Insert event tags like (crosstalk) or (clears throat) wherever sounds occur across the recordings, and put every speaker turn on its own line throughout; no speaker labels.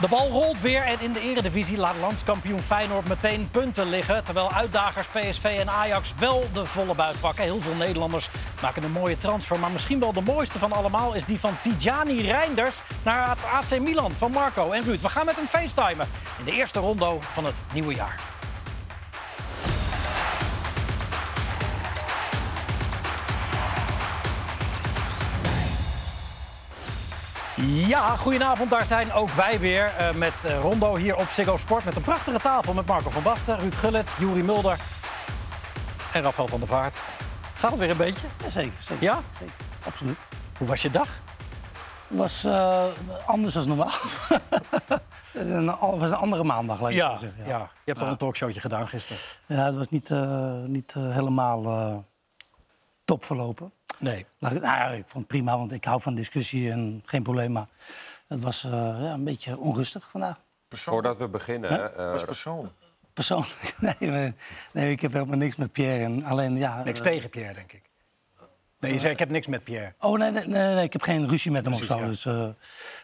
De bal rolt weer en in de eredivisie laat landskampioen Feyenoord meteen punten liggen. Terwijl uitdagers PSV en Ajax wel de volle buit pakken. Heel veel Nederlanders maken een mooie transfer. Maar misschien wel de mooiste van allemaal is die van Tijani Reinders naar het AC Milan van Marco en Ruud. We gaan met hem facetimen in de eerste rondo van het nieuwe jaar. Ja, goedenavond. Daar zijn ook wij weer eh, met eh, Rondo hier op Ziggo Sport. Met een prachtige tafel met Marco van Basten, Ruud Gullit, Juri Mulder en Rafael van der Vaart. Gaat het weer een beetje?
Ja, zeker, zeker.
Ja?
Zeker, absoluut.
Hoe was je dag?
was eh, anders dan normaal. (laughs) Het was een andere maandag, laat ik zo zeggen.
Je hebt al
Ja.
een talkshowtje gedaan gisteren.
Ja, het was niet, eh, niet eh, helemaal eh, top verlopen.
Nee.
Laat ik- nou ja, ik vond het prima, want ik hou van discussie en geen probleem. Maar het was eh, ja, een beetje onrustig vandaag.
Voordat we beginnen, eh,
Als persoon.
Persoonlijk, (laughs) nee, maar- nee, ik heb helemaal niks met Pierre. En alleen, ja,
Niks
eh,
tegen Pierre, denk ik. Nee, je zei ik heb niks met Pierre.
Oh, nee, nee, nee, nee, ik heb geen ruzie met hem of zo.
ja.
Dus, eh,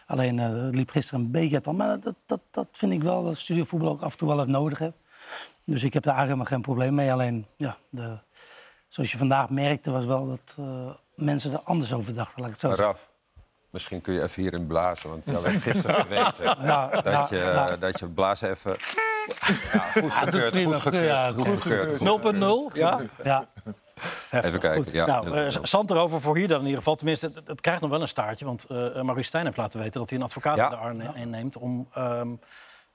alleen, eh, het liep gisteren een beetje uit de hand. Maar dat, dat, dat vind ik wel, dat studiovoetbal ook af en toe wel even nodig heeft. Dus ik heb daar helemaal geen probleem mee. Alleen, ja, de, zoals je vandaag merkte, was wel dat eh, mensen er anders over dachten. Laat ik het zo zeggen.
Raf, misschien kun je even hierin blazen. Want jij werd (laughs) gisteren verweten
Ja, ja,
dat, je,
ja.
dat je blazen even... Ja, goed gekeurd,
prima.
goed
Ja,
gekeurd, goed gekeurd.
0.0, ja?
Ja,
Even kijken,
Goed,
ja.
nou, eh, zand erover voor hier dan in ieder geval. Tenminste, het, het krijgt nog wel een staartje. Want eh Maurice Stijn heeft laten weten dat hij een advocaat
Ja.
in de arm ne- inneemt... om ehm,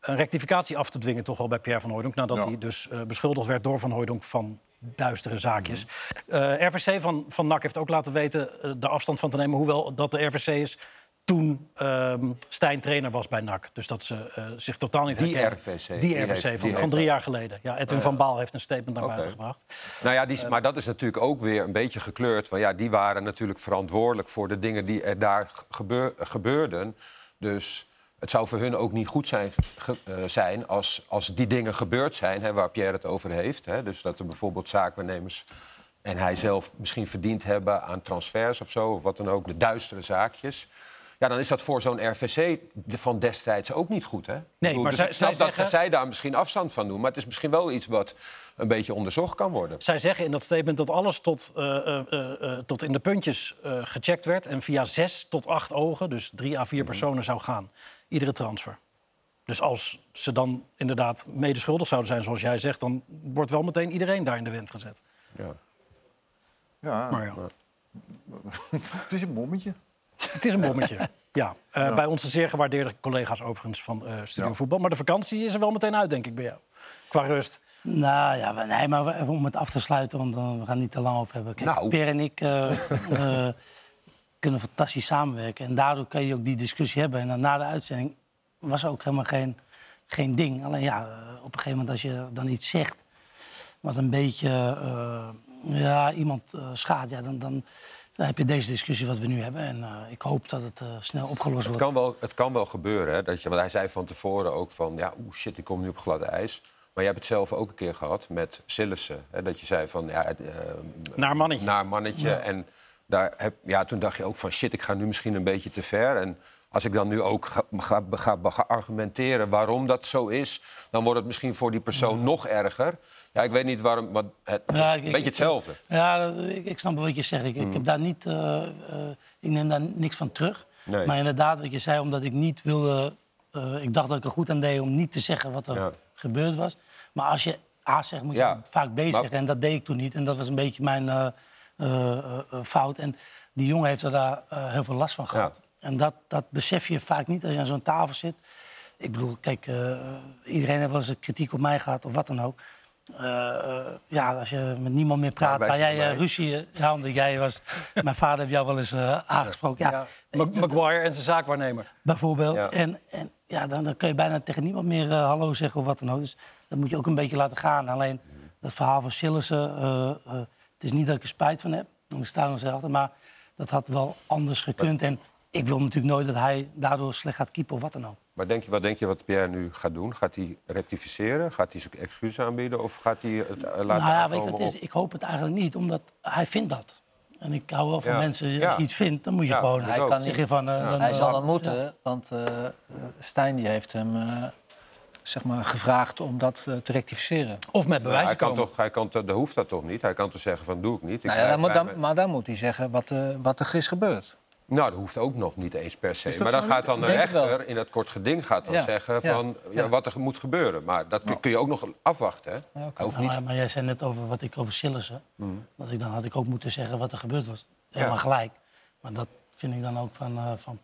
een rectificatie af te dwingen toch wel bij Pierre van Hooydonk... nadat
Ja.
hij dus eh, beschuldigd werd door van Hooydonk van duistere zaakjes.
Mhm.
Eh, RVC van, van NAC heeft ook laten weten eh, de afstand van te nemen... hoewel dat de RVC is toen ehm, Stijn trainer was bij NAC. Dus dat ze eh, zich totaal niet
Die
herkennen.
RVC,
Die,
die
RVC
heeft-
van,
die
van
heeft
drie
Eh, dat.
jaar geleden. Ja, Edwin van Baal heeft een statement naar buiten gebracht.
Nou ja, die, is- maar dat is natuurlijk ook weer een beetje gekleurd. Want ja, die waren natuurlijk verantwoordelijk voor de dingen die er daar g- gebeur- gebeurden. Dus het zou voor hun ook niet goed zijn, ge- eh, zijn als, als die dingen gebeurd zijn, hè, waar Pierre het over heeft. Hè. Dus dat er bijvoorbeeld zaakwaarnemers en hij zelf misschien verdiend hebben aan transfers of zo, of wat dan ook, de duistere zaakjes. Ja, dan is dat voor zo'n RVC de- van destijds ook niet goed, hè? Ik bedoel,
maar
dus
zij-
ik snap
zij
dat
zeggen-
zij daar misschien afstand van doen, maar het is misschien wel iets wat een beetje onderzocht kan worden.
Zij zeggen in dat statement dat alles tot, eh, eh, eh, eh, tot in de puntjes eh, gecheckt werd... en via zes tot acht ogen, dus drie à vier personen, zou gaan. Iedere transfer. Dus als ze dan inderdaad medeschuldig zouden zijn, zoals jij zegt... dan wordt wel meteen iedereen daar in de wind gezet.
Ja.
Ja,
Maar ja,
het is een bommetje.
het is een bommetje. Ja, eh, bij onze zeer gewaardeerde collega's overigens van eh Studio
Ja.
Voetbal. Maar de vakantie is er wel meteen uit, denk ik, bij jou. Qua rust.
nou ja, maar- nee, maar even om het af te sluiten, want eh, we gaan het niet te lang over hebben. Kijk,
Nou.
Pierre en ik eh, eh, kunnen fantastisch samenwerken. En daardoor kan je ook die discussie hebben. En dan na de uitzending was ook helemaal geen, geen ding. Alleen ja, eh, op een gegeven moment als je dan iets zegt... wat een beetje eh, ja, iemand eh, schaadt, ja, dan, dan, dan heb je deze discussie wat we nu hebben. En eh, ik hoop dat het eh, snel opgelost
Het
wordt.
kan wel, het kan wel gebeuren, hè, dat je, want hij zei van tevoren ook van... ja, oeh, shit, ik kom nu op glad ijs. Maar jij hebt het zelf ook een keer gehad met Sillissen. Hè, dat je zei van, ja, het, eh,
Naar mannetje.
naar mannetje. En daar heb, ja, toen dacht je ook van, shit, ik ga nu misschien een beetje te ver. En als ik dan nu ook ga, ga, ga, ga argumenteren waarom dat zo is... dan wordt het misschien voor die persoon nog erger. Ja, ik weet niet waarom, maar het,
Ja, ik-
een
ik-
beetje hetzelfde.
Ja, dat- ik, ik snap wel wat je zegt. Ik,
Mm.
ik, heb daar niet, eh, eh, ik neem daar niks van terug.
Nee.
Maar inderdaad, wat je zei, omdat ik niet wilde... eh, ik dacht dat ik er goed aan deed om niet te zeggen wat er
Ja.
gebeurd was. Maar als je A zegt, moet je
Ja.
vaak B
Maar-
zeggen. En dat deed ik toen niet. En dat was een beetje mijn eh, eh, eh, eh, fout. En die jongen heeft er daar eh, heel veel last van gehad. En dat, dat besef je vaak niet als je aan zo'n tafel zit. Ik bedoel, kijk, eh, iedereen heeft wel eens kritiek op mij gehad of wat dan ook. Eh, eh, ja, als je met niemand meer praat,
wij
waar jij
zitten
eh,
bij.
ruzie... eh, Ja, omdat jij
(laughs)
was... mijn vader heeft jou wel eens eh, aangesproken. Ja,
Ja. Mag- Maguire en zijn zaakwaarnemer.
bijvoorbeeld.
Ja.
En, en ja, dan, dan kun je bijna tegen niemand meer eh, hallo zeggen of wat dan ook. Dus dat moet je ook een beetje laten gaan. Alleen dat verhaal van Sillissen, eh, eh, het is niet dat ik er spijt van heb. Want ik sta er nog steeds achter. Maar dat had wel anders gekund. En ik wil natuurlijk nooit dat hij daardoor slecht gaat keeper of wat dan ook.
Maar denk je, wat denk je wat Pierre nu gaat doen? Gaat hij rectificeren? Gaat hij zijn excuus aanbieden? Of gaat hij het eh, laten
Nou ja, weet je
aankomen
wat het
op-
is? Ik hoop het eigenlijk niet, omdat hij vindt dat. En ik hou wel van
Ja.
mensen, als je
Ja.
iets vindt, dan moet je
Ja,
gewoon eh,
vind ik
Hij
ook.
kan niet-
zeggen van... eh, dan,
Hij
eh,
zal dat moeten, want eh, Stijn die heeft hem eh, zeg maar gevraagd om dat eh, te rectificeren.
Of met bewijs
hij kan
komen.
toch, hij kan, te- dat hoeft dat toch niet? Hij kan toch zeggen van doe ik niet. Ik
Nou ja,
blijf
dan moet,
bij
dan-
mijn-
maar dan moet hij zeggen wat, eh, wat er is gebeurd.
Nou, dat hoeft ook nog niet eens per se.
Dus
dat
Maar dan
zo?
gaat dan de
Denk het wel.
rechter in dat kort geding gaat dan
Ja,
zeggen
ja,
van ja,
ja.
wat er moet gebeuren. Maar dat kun, kun je ook nog afwachten. Hè? Hij hoeft
Nou,
niet.
maar, maar jij zei net over wat ik over Sillissen.
Mm.
Want ik, dan had ik ook moeten zeggen wat er gebeurd was. Helemaal
Ja.
gelijk. Maar dat vind ik dan ook van, eh, van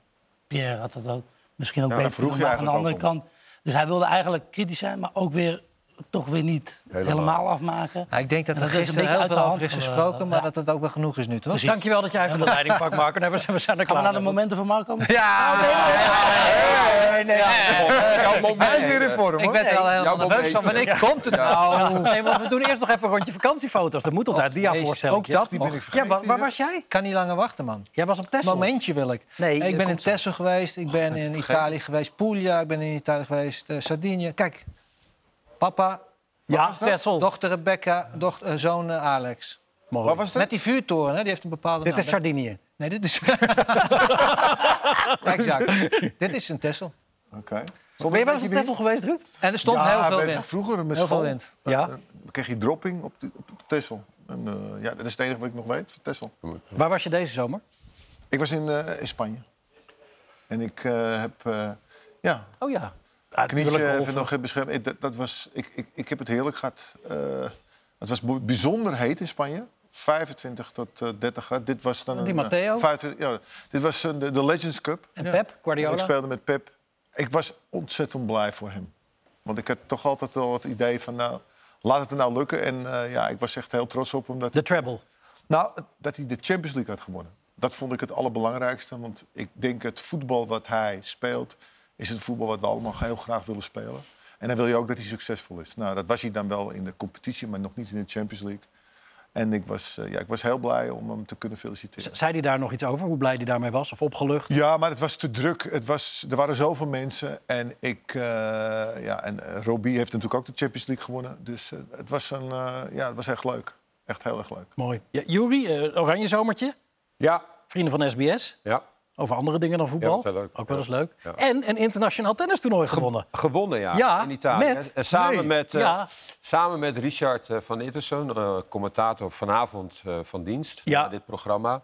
Pierre had dat ook misschien ook
Ja, daar
beter
vroeg
kunnen
je
maken. aan de andere
eigenlijk
kant. Dus hij wilde eigenlijk kritisch zijn, maar ook weer toch weer niet helemaal, afmaken.
Nou, ik denk dat
En
er
dat is een
gisteren
beetje
heel
uit
veel
de
over
hand
is
ge-
gesproken, maar
ja.
dat het ook wel genoeg is nu, toch?
Dankjewel dat jij even de leiding pakt, Marco. Nee, we zijn- we zijn er
Gaan we
klaar
naar de
mee.
momenten van Marco?
Ja! Oh, Nee, nee, nee.
Jouw
Hij is
moment.
weer in vorm,
Ik
hoor.
ben er al
jouw
helemaal nerveus
moment.
van. Wanneer komt het nou?
Nee, want we doen eerst nog even een rondje vakantiefoto's. Dat moet toch uit dia
Jezus,
voorstellen.
ook dat?
Die ben ik
Ja,
vergeten.
waar, waar
hier.
was jij?
Ik kan niet langer wachten, man.
Jij was op Tesla.
Momentje wil ik.
Nee,
ik
dat
ben in
komt zo.
Texel geweest, ik ben in Italië geweest, Puglia, ik ben in Italië geweest, eh, Sardinië. Kijk, papa,
Ja, Tesla.
dochter Rebecca, dochter, eh, zoon eh, Alex.
Waar was
Met
het?
die vuurtoren, hè, die heeft een bepaalde
Dit
naam.
is Sardinië.
Nee, dit is... (laughs) Kijk, Jacques, dit is een Texel.
Oké.
Ben je wel eens op Tesla geweest, Ruud?
En er stond
Ja,
heel veel
ben-
wind.
Vroeger met
Heel veel
school
wind.
Ja.
eh, kreeg je dropping op, de, op de Tessel. En, eh, ja, dat is het enige wat ik nog weet van Tessel.
Waar was je deze zomer?
Ik was in, eh, in Spanje. En ik eh, heb... eh, ja,
Oh ja. Ah,
knietje
tuurlijk,
even
of-
nog beschermd. Ik, dat, dat was, ik, ik, ik heb het heerlijk gehad. Eh, het was bo- bijzonder heet in Spanje. 25 tot eh, 30 graden. Dit was dan
Die
een, eh,
Matteo?
25 ja, dit was een, de, de Legends Cup.
En Pep,
Ik
Guardiola.
speelde met Pep. Ik was ontzettend blij voor hem. Want ik had toch altijd al het idee van... Nou, laat het er nou lukken. En eh, ja, ik was echt heel trots op hem. Dat,
De treble.
nou, dat hij de Champions League had gewonnen. Dat vond ik het allerbelangrijkste. Want ik denk het voetbal wat hij speelt... is het voetbal wat we allemaal heel graag willen spelen. En dan wil je ook dat hij succesvol is. Nou, dat was hij dan wel in de competitie, maar nog niet in de Champions League. En ik was, eh, ja, ik was heel blij om hem te kunnen feliciteren.
Z- Zei hij daar nog iets over? Hoe blij hij daarmee was? Of opgelucht?
Ja, maar het was te druk. Het was, er waren zoveel mensen. En, ik, eh, ja, en eh, Robbie heeft natuurlijk ook de Champions League gewonnen. Dus eh, het, was een, eh, ja, het was echt leuk. Echt heel erg leuk.
Mooi. Ja, Juri, eh, oranje zomertje.
Ja,
Vrienden van SBS.
ja.
Over andere dingen dan voetbal.
Ja, dat is wel leuk.
Ook wel eens
Ja.
leuk.
Ja.
En een internationaal tennistoernooi gewonnen.
Gewonnen, ja,
Ja,
in Italië.
met-
En samen,
Nee.
met, eh,
Ja.
samen met Richard eh, van Ittersen, eh, commentator vanavond eh, van dienst
Ja.
bij dit programma.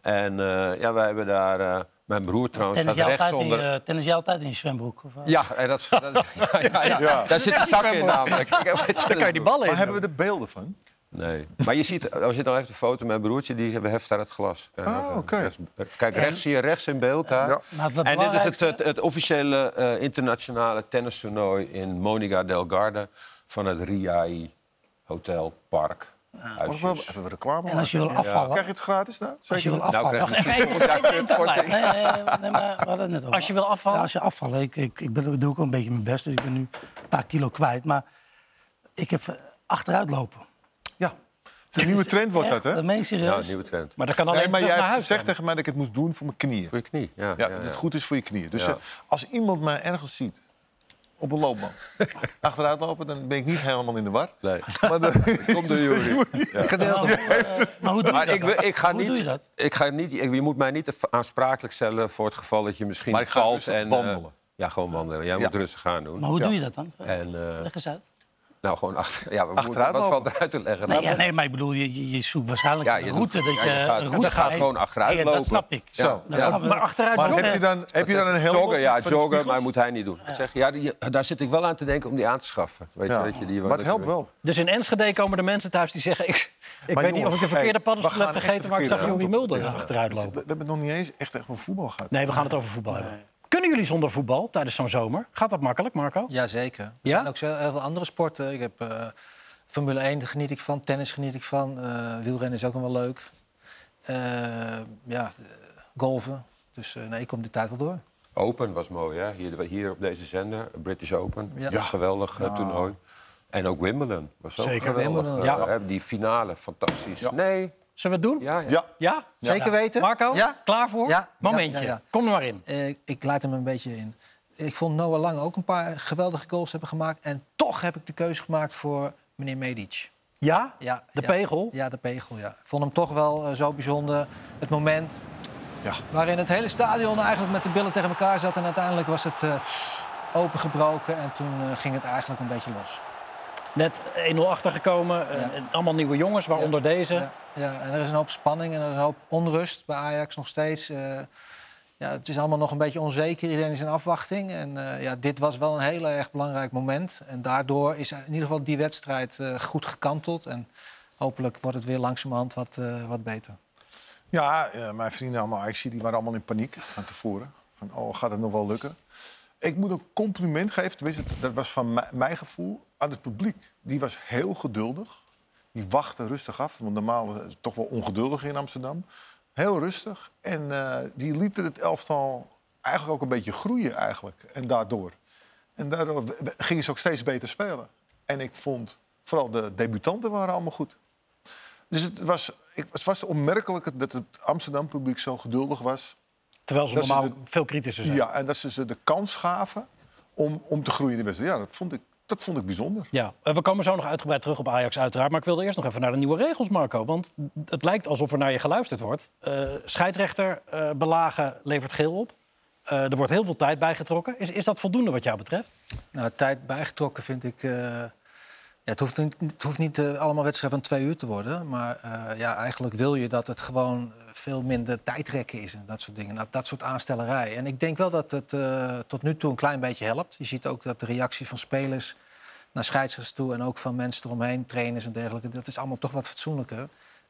En eh, ja, wij hebben daar... eh, mijn broer trouwens
Tennis
staat
jij, altijd in,
rechtsonder.
je- tennis jij altijd in je zwembroek? Of, eh?
Ja, en dat, is- dat is- ja, (laughs) ja, ja.
Ja.
daar zit een zak in
(laughs)
namelijk. Ik heb
Daar kan je
geen
die
tennisbroek.
ballen in.
Maar hebben we er beelden van?
Nee. Maar je ziet, als je dan even de foto, mijn broertje die heft daar het glas. Kijk,
Ah,
even
oké.
rechts- Kijk, rechts zie je rechts in beeld daar.
Ja.
Maar het
En dit is het,
belangrijkste-
het, het officiële eh, internationale tennistoernooi in Monica del Garda van het Riai Hotel Park.
Mag Ah. wel
Huisjes. Nou,
even reclame
En als je
maken?
wil afvallen...
Krijg je het gratis nou?
Als je wil
niet?
afvallen... (laughs)
krijg je-
Even
(laughs)
één-
Ja,
één tegelijk.
Nee, nee, nee, nee, maar we hadden het net over.
Als je wil afvallen.
Ja, Nou, als je afvallen, ik, ik, ik ben, doe ook wel een beetje mijn best, dus ik ben nu een paar kilo kwijt. Maar ik heb eh, achteruit lopen.
Ja. De nieuwe trend wordt dat,
Echt,
hè?
Dat meen ik
Ja,
serieus.
een nieuwe trend.
Maar dat kan alleen
Nee, maar
terug
jij
naar
hebt
huis.
gezegd tegen mij dat ik het moest doen voor mijn knieën.
Voor je knie. Ja,
Ja,
ja,
dat
ja.
het goed is voor je knieën. Dus
Ja.
eh, als iemand mij ergens ziet op een loopband achteruit lopen, dan ben ik niet helemaal in de war.
Nee. (laughs)
Maar de-
Kom
(laughs)
door, Juri.
maar hoe doe je
Maar
dat
ik,
dan?
wil- ik ga
Hoe
niet,
doe je dat?
Ik ga niet ik, je moet mij niet aansprakelijk stellen voor het geval dat je misschien
Maar ik ga
valt.
rustig
en, eh,
wandelen.
ja, gewoon wandelen. Jij
Ja.
moet rustig gaan doen.
Maar hoe doe je dat dan?
En, eh,
Leg eens uit.
nou, gewoon achter, (laughs) ja, we moeten-
Achteruit
wat
lopen.
valt eruit te leggen?
Nee, ja, nee, maar ik bedoel, je, je- je zoekt waarschijnlijk
Ja,
een
je
route.
doet-
dat
ja,
je,
je gaat-
een
dat
route
gaat
Nee,
gewoon achteruit
ja,
lopen.
Dat snap ik.
Ja.
Zo.
Dat
Ja.
snap ik.
Maar achteruit
Maar
joggen.
heb je dan, heb je dan een helm
Joggen,
op
ja,
van de
joggen, maar
spiegels?
moet hij niet doen. Ik Zeg, ja, die, daar zit ik wel aan te denken om die aan te schaffen. Weet je,
Ja.
dat je die,
maar het helpt wel.
Dus in Enschede komen de mensen thuis die zeggen... ik, ik weet niet of ik de
jongens,
verkeerde
hey,
paddenstoel
we
heb
gaan echt
gegeten...
de
maar ik zag
verkeerde
Juri
kant op.
Mulder
Ja.
achteruit
We, we
lopen.
hebben het nog niet eens echt echt over voetbal gehad.
Nee, we gaan het over voetbal hebben. Kunnen jullie zonder voetbal tijdens zo'n zomer? Gaat dat makkelijk, Marco?
Jazeker. Er
Ja?
zijn ook zo- heel veel andere sporten. Ik heb eh, Formule 1 geniet ik van, tennis geniet ik van, eh, wielrennen is ook nog wel leuk. Eh, ja, eh, golven. Dus eh, nee, ik kom de tijd wel door.
Open was mooi, hè? Hier, hier op deze zender, British Open.
Ja.
Ja. Geweldig eh, toernooi. En ook Wimbledon was ook
Zeker,
geweldig.
Wimbledon,
eh, hè, Die finale, fantastisch. Nee,
Zullen we het doen?
ja, ja.
Ja,
Ja?
Zeker weten.
Marco,
Ja?
klaar voor?
Ja,
Momentje,
ja, ja, ja.
kom er maar in.
Eh, ik leid hem een beetje in. Ik vond Noah Lang ook een paar geweldige goals hebben gemaakt. En toch heb ik de keuze gemaakt voor meneer Medic.
Ja?
Ja,
De
ja.
pegel?
Ja, de pegel, ja. Ik vond hem toch wel eh, zo bijzonder. Het moment
Ja.
waarin het hele stadion eigenlijk met de billen tegen elkaar zat. En uiteindelijk was het eh, opengebroken en toen eh, ging het eigenlijk een beetje los.
Net 1-0 achtergekomen.
Ja.
eh, Allemaal nieuwe jongens, waaronder deze.
Ja, ja, en er is een hoop spanning en er is een hoop onrust bij Ajax nog steeds. Eh, ja, het is allemaal nog een beetje onzeker. Iedereen is in afwachting. En eh, ja, dit was wel een heel erg belangrijk moment. En daardoor is in ieder geval die wedstrijd eh, goed gekanteld. En hopelijk wordt het weer langzamerhand wat, eh, wat beter.
Ja, eh, mijn vrienden allemaal IC, die waren allemaal in paniek van tevoren. Van, oh, gaat het nog wel lukken? Ik moet een compliment geven, tenminste, dat was van mij- mijn gevoel, aan het publiek. Die was heel geduldig. Die wachtte rustig af, want normaal is het toch wel ongeduldig in Amsterdam. Heel rustig. En eh, die lieten het elftal eigenlijk ook een beetje groeien eigenlijk. En daardoor. En daardoor w- w- gingen ze ook steeds beter spelen. En ik vond, vooral de debutanten waren allemaal goed. Dus het was, ik, het was opmerkelijk dat het Amsterdam-publiek zo geduldig was.
Terwijl ze
Dat is
normaal
het-
veel kritischer zijn.
Ja, en dat ze ze de kans gaven om, om te groeien in de wedstrijd. Ja, dat vond ik, dat vond ik bijzonder.
Ja, eh, we komen zo nog uitgebreid terug op Ajax uiteraard. Maar ik wilde eerst nog even naar de nieuwe regels, Marco. Want het lijkt alsof er naar je geluisterd wordt. Eh scheidsrechter eh, belagen levert geel op. Eh, er wordt heel veel tijd bijgetrokken. Is, is dat voldoende wat jou betreft?
Nou, tijd bijgetrokken vind ik. eh, ja, het hoeft niet, het hoeft niet eh, allemaal wedstrijd van twee uur te worden. Maar eh, ja, eigenlijk wil je dat het gewoon veel minder tijdrekken is en dat soort dingen. Nou, dat soort aanstellerij. En ik denk wel dat het eh, tot nu toe een klein beetje helpt. Je ziet ook dat de reactie van spelers naar scheidsrechters toe en ook van mensen eromheen, trainers en dergelijke, dat is allemaal toch wat fatsoenlijker.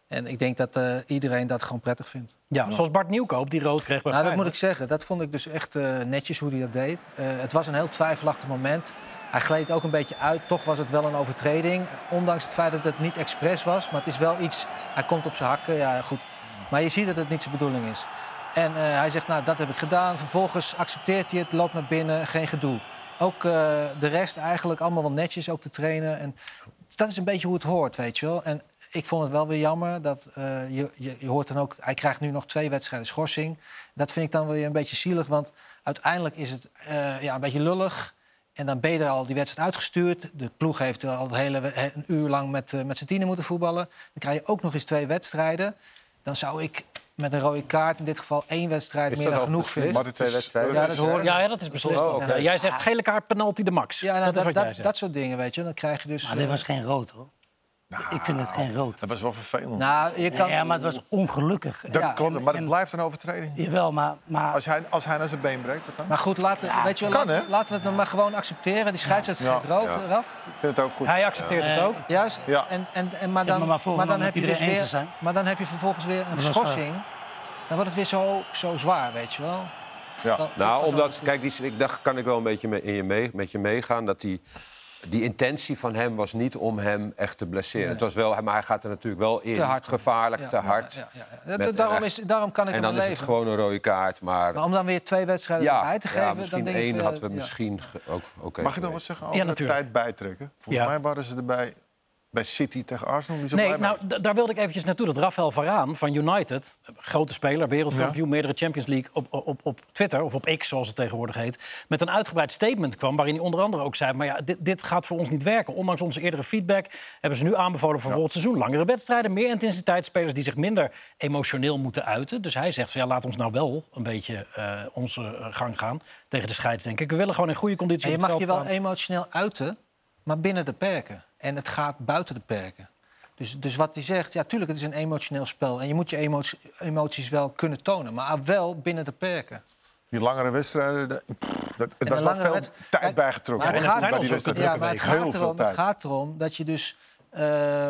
En ik denk dat eh, iedereen dat gewoon prettig vindt.
Ja, zoals Bart Nieuwkoop, die rood kreeg bij
Nou, dat moet ik
Feyenoord.
zeggen. Dat vond ik dus echt eh, netjes hoe hij dat deed. Eh, het was een heel twijfelachtig moment. Hij gleed ook een beetje uit. Toch was het wel een overtreding. Ondanks het feit dat het niet expres was. Maar het is wel iets... Hij komt op zijn hakken. Ja, goed. Maar je ziet dat het niet zijn bedoeling is. En eh, hij zegt, nou, dat heb ik gedaan. Vervolgens accepteert hij het, loopt naar binnen. Geen gedoe. Ook eh, de rest eigenlijk allemaal wel netjes ook te trainen. En Dus dat is een beetje hoe het hoort, weet je wel. En ik vond het wel weer jammer dat eh, je, je, je hoort dan ook... Hij krijgt nu nog twee wedstrijden schorsing. Dat vind ik dan weer een beetje zielig, want uiteindelijk is het eh, ja, een beetje lullig. En dan ben je er al die wedstrijd uitgestuurd. De ploeg heeft al het hele, we- een uur lang met, eh, met zijn tienen moeten voetballen. Dan krijg je ook nog eens twee wedstrijden. Dan zou ik met een rode kaart in dit geval één wedstrijd meer dan genoeg vinden.
Maar
Maar
het
de
is-
twee wedstrijden.
Ja, dat hoor ik.
Ja, ja, dat is beslist.
Oh, oké.
Ja, Eh, Jij zegt gele kaart, penalty de max.
Ah. Ja, nou,
dat,
dat,
is wat
dat,
jij zegt.
dat soort dingen, weet je. Dan krijg je dus...
Maar dit
eh,
was geen rood, hoor.
Nou.
ik vind het geen rood.
Dat was wel vervelend.
nou, je kan...
Ja, maar het was ongelukkig.
dat
ja,
klopt,
en-
maar het
en-
blijft een overtreding.
Jawel, maar, maar
Als hij, als hij naar zijn been breekt, wat dan?
Maar goed, laten, weet je wel,
kan,
laten-
hè?
laten we het nou maar gewoon accepteren. Die scheidsrechter geeft
Ja,
rood
ja.
eraf.
Ik vind het ook goed.
Hij accepteert het
Eh,
ook.
Juist.
Ja.
En, en, en, maar
Ja,
dan,
maar maar vooral
dan
dat
heb je dus
iedereen eens
weer,
zijn.
maar dan heb je vervolgens weer een
Dat was
schorsing. Dan wordt het weer zo, zo zwaar, weet je wel.
Ja.
Dat- dat
Nou,
was
omdat,
wel-
kijk, die, ik dacht, kan ik wel een beetje mee, in je mee, met je meegaan. Dat die, die intentie van hem was niet om hem echt te blesseren. Het was wel, maar hij gaat er natuurlijk wel in.
Te hard.
Gevaarlijk,
Ja,
te
ja,
hard.
ja, ja, ja. Dat-
Met-
daarom,
en
is, daarom kan ik
En
hem
dan is
leven.
het gewoon een rode kaart. Maar,
Maar om dan weer twee wedstrijden
ja,
erbij te
ja,
geven... dan
misschien
denk ik
één
van,
hadden we
ja.
misschien ge- ook oké.
Mag ik nog
geweest.
wat zeggen over de
natuurlijk.
tijd bijtrekken? Volgens
Ja.
mij waren ze erbij bij City tegen Arsenal. Niet zo
Nee,
blij mee.
nou, d- daar wilde ik eventjes naartoe. Dat Rafael Varaan van United, eh, grote speler, wereldkampioen, meerdere Champions League, op, op, op Twitter, of op X zoals het tegenwoordig heet, met een uitgebreid statement kwam waarin hij onder andere ook zei, maar ja, dit, dit gaat voor ons niet werken. Ondanks onze eerdere feedback hebben ze nu aanbevolen voor volgend seizoen langere wedstrijden, meer intensiteit, spelers die zich minder emotioneel moeten uiten. Dus hij zegt van ja, laat ons nou wel een beetje eh, onze eh, gang gaan tegen de scheids, denk ik. We willen gewoon in goede conditie
En je
op het
mag je
veld
wel
staan.
emotioneel uiten, maar binnen de perken. En het gaat buiten de perken. Dus, dus wat hij zegt, ja, tuurlijk, het is een emotioneel spel. En je moet je emoties, emoties wel kunnen tonen, maar wel binnen de perken.
Die langere wedstrijden, dat, pff, dat, het was
En een
wel
langere
veel
wedst-
tijd
Maar-
bijgetrokken.
maar het
hoor,
gaat-
bij die
Zijn ons ook
wedstrijd.
Ja, maar het
Heel
gaat,
veel
erom, het
tijd.
gaat erom dat je dus eh,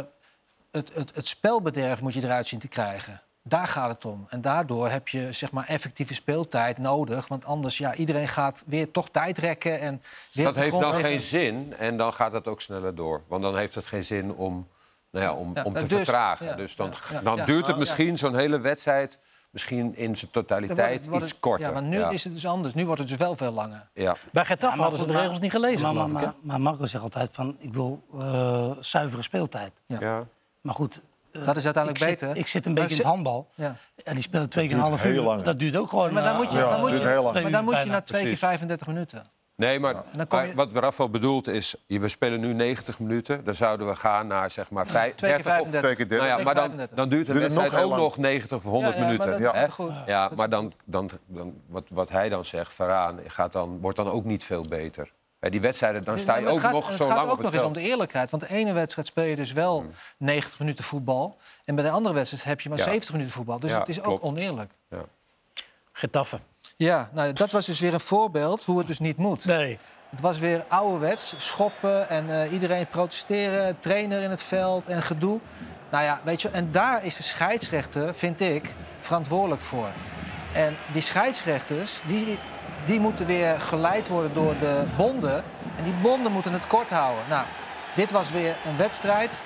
het, het, het spelbederf moet je eruit zien te krijgen. Daar gaat het om. En daardoor heb je zeg maar, effectieve speeltijd nodig. Want anders, ja, iedereen gaat weer toch tijd rekken. En weer
Dat
op de
heeft
grond
dan
liggen.
geen zin en dan gaat dat ook sneller door. Want dan heeft het geen zin om, nou ja, om,
Ja,
om te
dus-
vertragen.
ja,
dus dan,
ja,
dan
ja. oh,
duurt het
Ja.
misschien zo'n hele wedstrijd... misschien in zijn
Dan
totaliteit
wordt het- wordt
iets
het-
korter.
Ja, maar nu
ja.
is het dus anders. Nu wordt het dus wel veel langer.
Ja.
Bij Getafe
maar
hadden ze de
goed, maar-
regels niet gelezen,
maar,
geloof
maar,
ik. hè?
maar, maar Marco zegt altijd van, ik wil eh, zuivere speeltijd.
Ja.
Maar goed, eh,
Dat is uiteindelijk
ik zit-
beter.
ik zit een beetje
Maar
in
ze-
het handbal.
Ja.
En die spelen twee keer een half
heel
uur.
lang, hè?
Dat duurt ook gewoon.
Maar dan
eh,
moet je,
Ja,
dan moet
duurt
je,
heel lang.
maar dan moet je
Bijna.
na twee keer
Precies.
35 minuten.
Nee, maar,
Dan kom
maar
je-
wat Rafael bedoelt is... je- we spelen nu 90 minuten. Dan zouden we gaan naar zeg maar vijf-
twee keer
30 of...
35.
twee keer
Nou
dertig.
ja,
Twee
maar
keer
dan,
35.
dan duurt de
Duurt het nog
wedstrijd
heel
ook
lang.
nog 90 of 100
Ja, ja, maar
minuten.
dat is
hè?
goed.
Ja,
Dat is
maar dan, dan, dan, wat, wat hij dan zegt, Varaan, gaat dan, wordt dan ook niet veel beter. Bij die wedstrijden, dan sta je
Ja, maar
ook
het gaat,
nog
het
zo
gaat
lang
ook
op het
nog eens om
veld.
de eerlijkheid. Want de ene wedstrijd speel je dus wel 90 minuten voetbal. En bij de andere wedstrijd heb je maar
Ja.
70 minuten voetbal. Dus
Ja,
het is ook
klopt.
oneerlijk.
Getaffen.
Ja, nou, dat was dus weer een voorbeeld hoe het dus niet moet.
Nee.
Het was weer ouderwets. Schoppen en eh, iedereen protesteren. Trainer in het veld en gedoe. Nou ja, weet je, en daar is de scheidsrechter, vind ik, verantwoordelijk voor. En die scheidsrechters, die, die moeten weer geleid worden door de bonden. En die bonden moeten het kort houden. Nou, dit was weer een wedstrijd.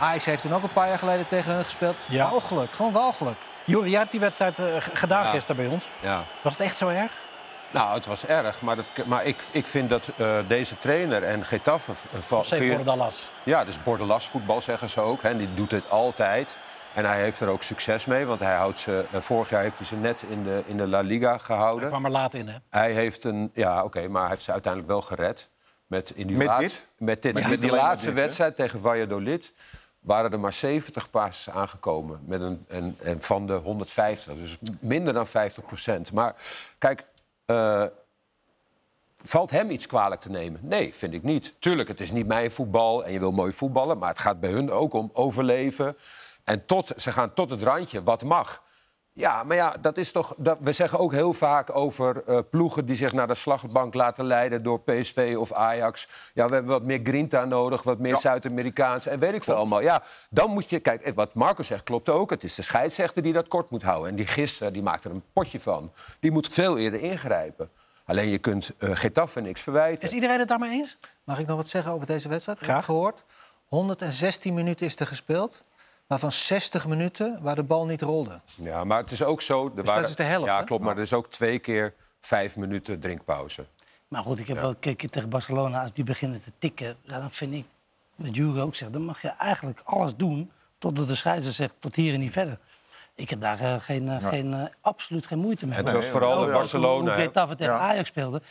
Ajax heeft toen ook een paar jaar geleden tegen hun gespeeld.
Ja.
Walgelijk, gewoon walgelijk.
Juri, jij hebt die wedstrijd eh, g- gedaan
Ja.
gisteren bij ons.
Ja.
Was het echt zo erg?
Nou, het was erg, maar, dat, maar ik, ik vind dat eh, deze trainer en Getafe... eh, val-
Of
kun je-
Zeepoort Dallas?
Ja, dus bordelas voetbal zeggen ze ook. Hè. En die doet het altijd. En hij heeft er ook succes mee, want hij houdt ze, eh, vorig jaar heeft hij ze net in de, in de La Liga
Hij
gehouden.
kwam er laat in, hè?
Hij heeft een. Ja, oké, maar hij heeft ze uiteindelijk wel gered. Met, in die
Met
laatste,
dit?
Met, dit,
Maar
met
niet
die
alleen met
laatste
dit, hè?
wedstrijd tegen Valladolid waren er maar 70 passes aangekomen. Met een, en, en van de 150. Dus minder dan 50 procent. Maar kijk, eh, valt hem iets kwalijk te nemen? Nee, vind ik niet. Tuurlijk, het is niet mijn voetbal en je wil mooi voetballen... maar het gaat bij hun ook om overleven. En tot, ze gaan tot het randje, wat mag. Ja, maar ja, dat is toch... Dat, we zeggen ook heel vaak over eh, ploegen die zich naar de slagbank laten leiden... door PSV of Ajax. Ja, we hebben wat meer grinta nodig, wat meer Zuid-Amerikaans... en weet ik veel allemaal. Ja, dan moet je... Kijk, eh, wat Marco zegt klopt ook. Het is de scheidsrechter die dat kort moet houden. En die gisteren, die maakt er een potje van. Die moet veel eerder ingrijpen. Alleen je kunt eh Getafe niks verwijten.
Is iedereen het daarmee eens?
Mag ik nog wat zeggen over deze wedstrijd? Ik
Graag.
heb gehoord, 116 minuten is er gespeeld. Waarvan 60 minuten waar de bal niet rolde.
Ja, maar het is ook zo... Er
Dus dat is de helft,
Ja,
hè?
klopt, maar er is ook twee keer vijf minuten drinkpauze.
Maar goed, ik heb wel gekeken tegen Barcelona. Als die beginnen te tikken, ja, dan vind ik, wat Jure ook zegt... dan mag je eigenlijk alles doen totdat de scheidsrechter zegt tot hier en niet verder. Ik heb daar eh, geen, eh, geen, eh, absoluut geen moeite mee.
Het was vooral
Ook-
in
ook Hoe,
Barcelona.
hoe
hè.
Getafe tegen
Ja.
Ajax speelde.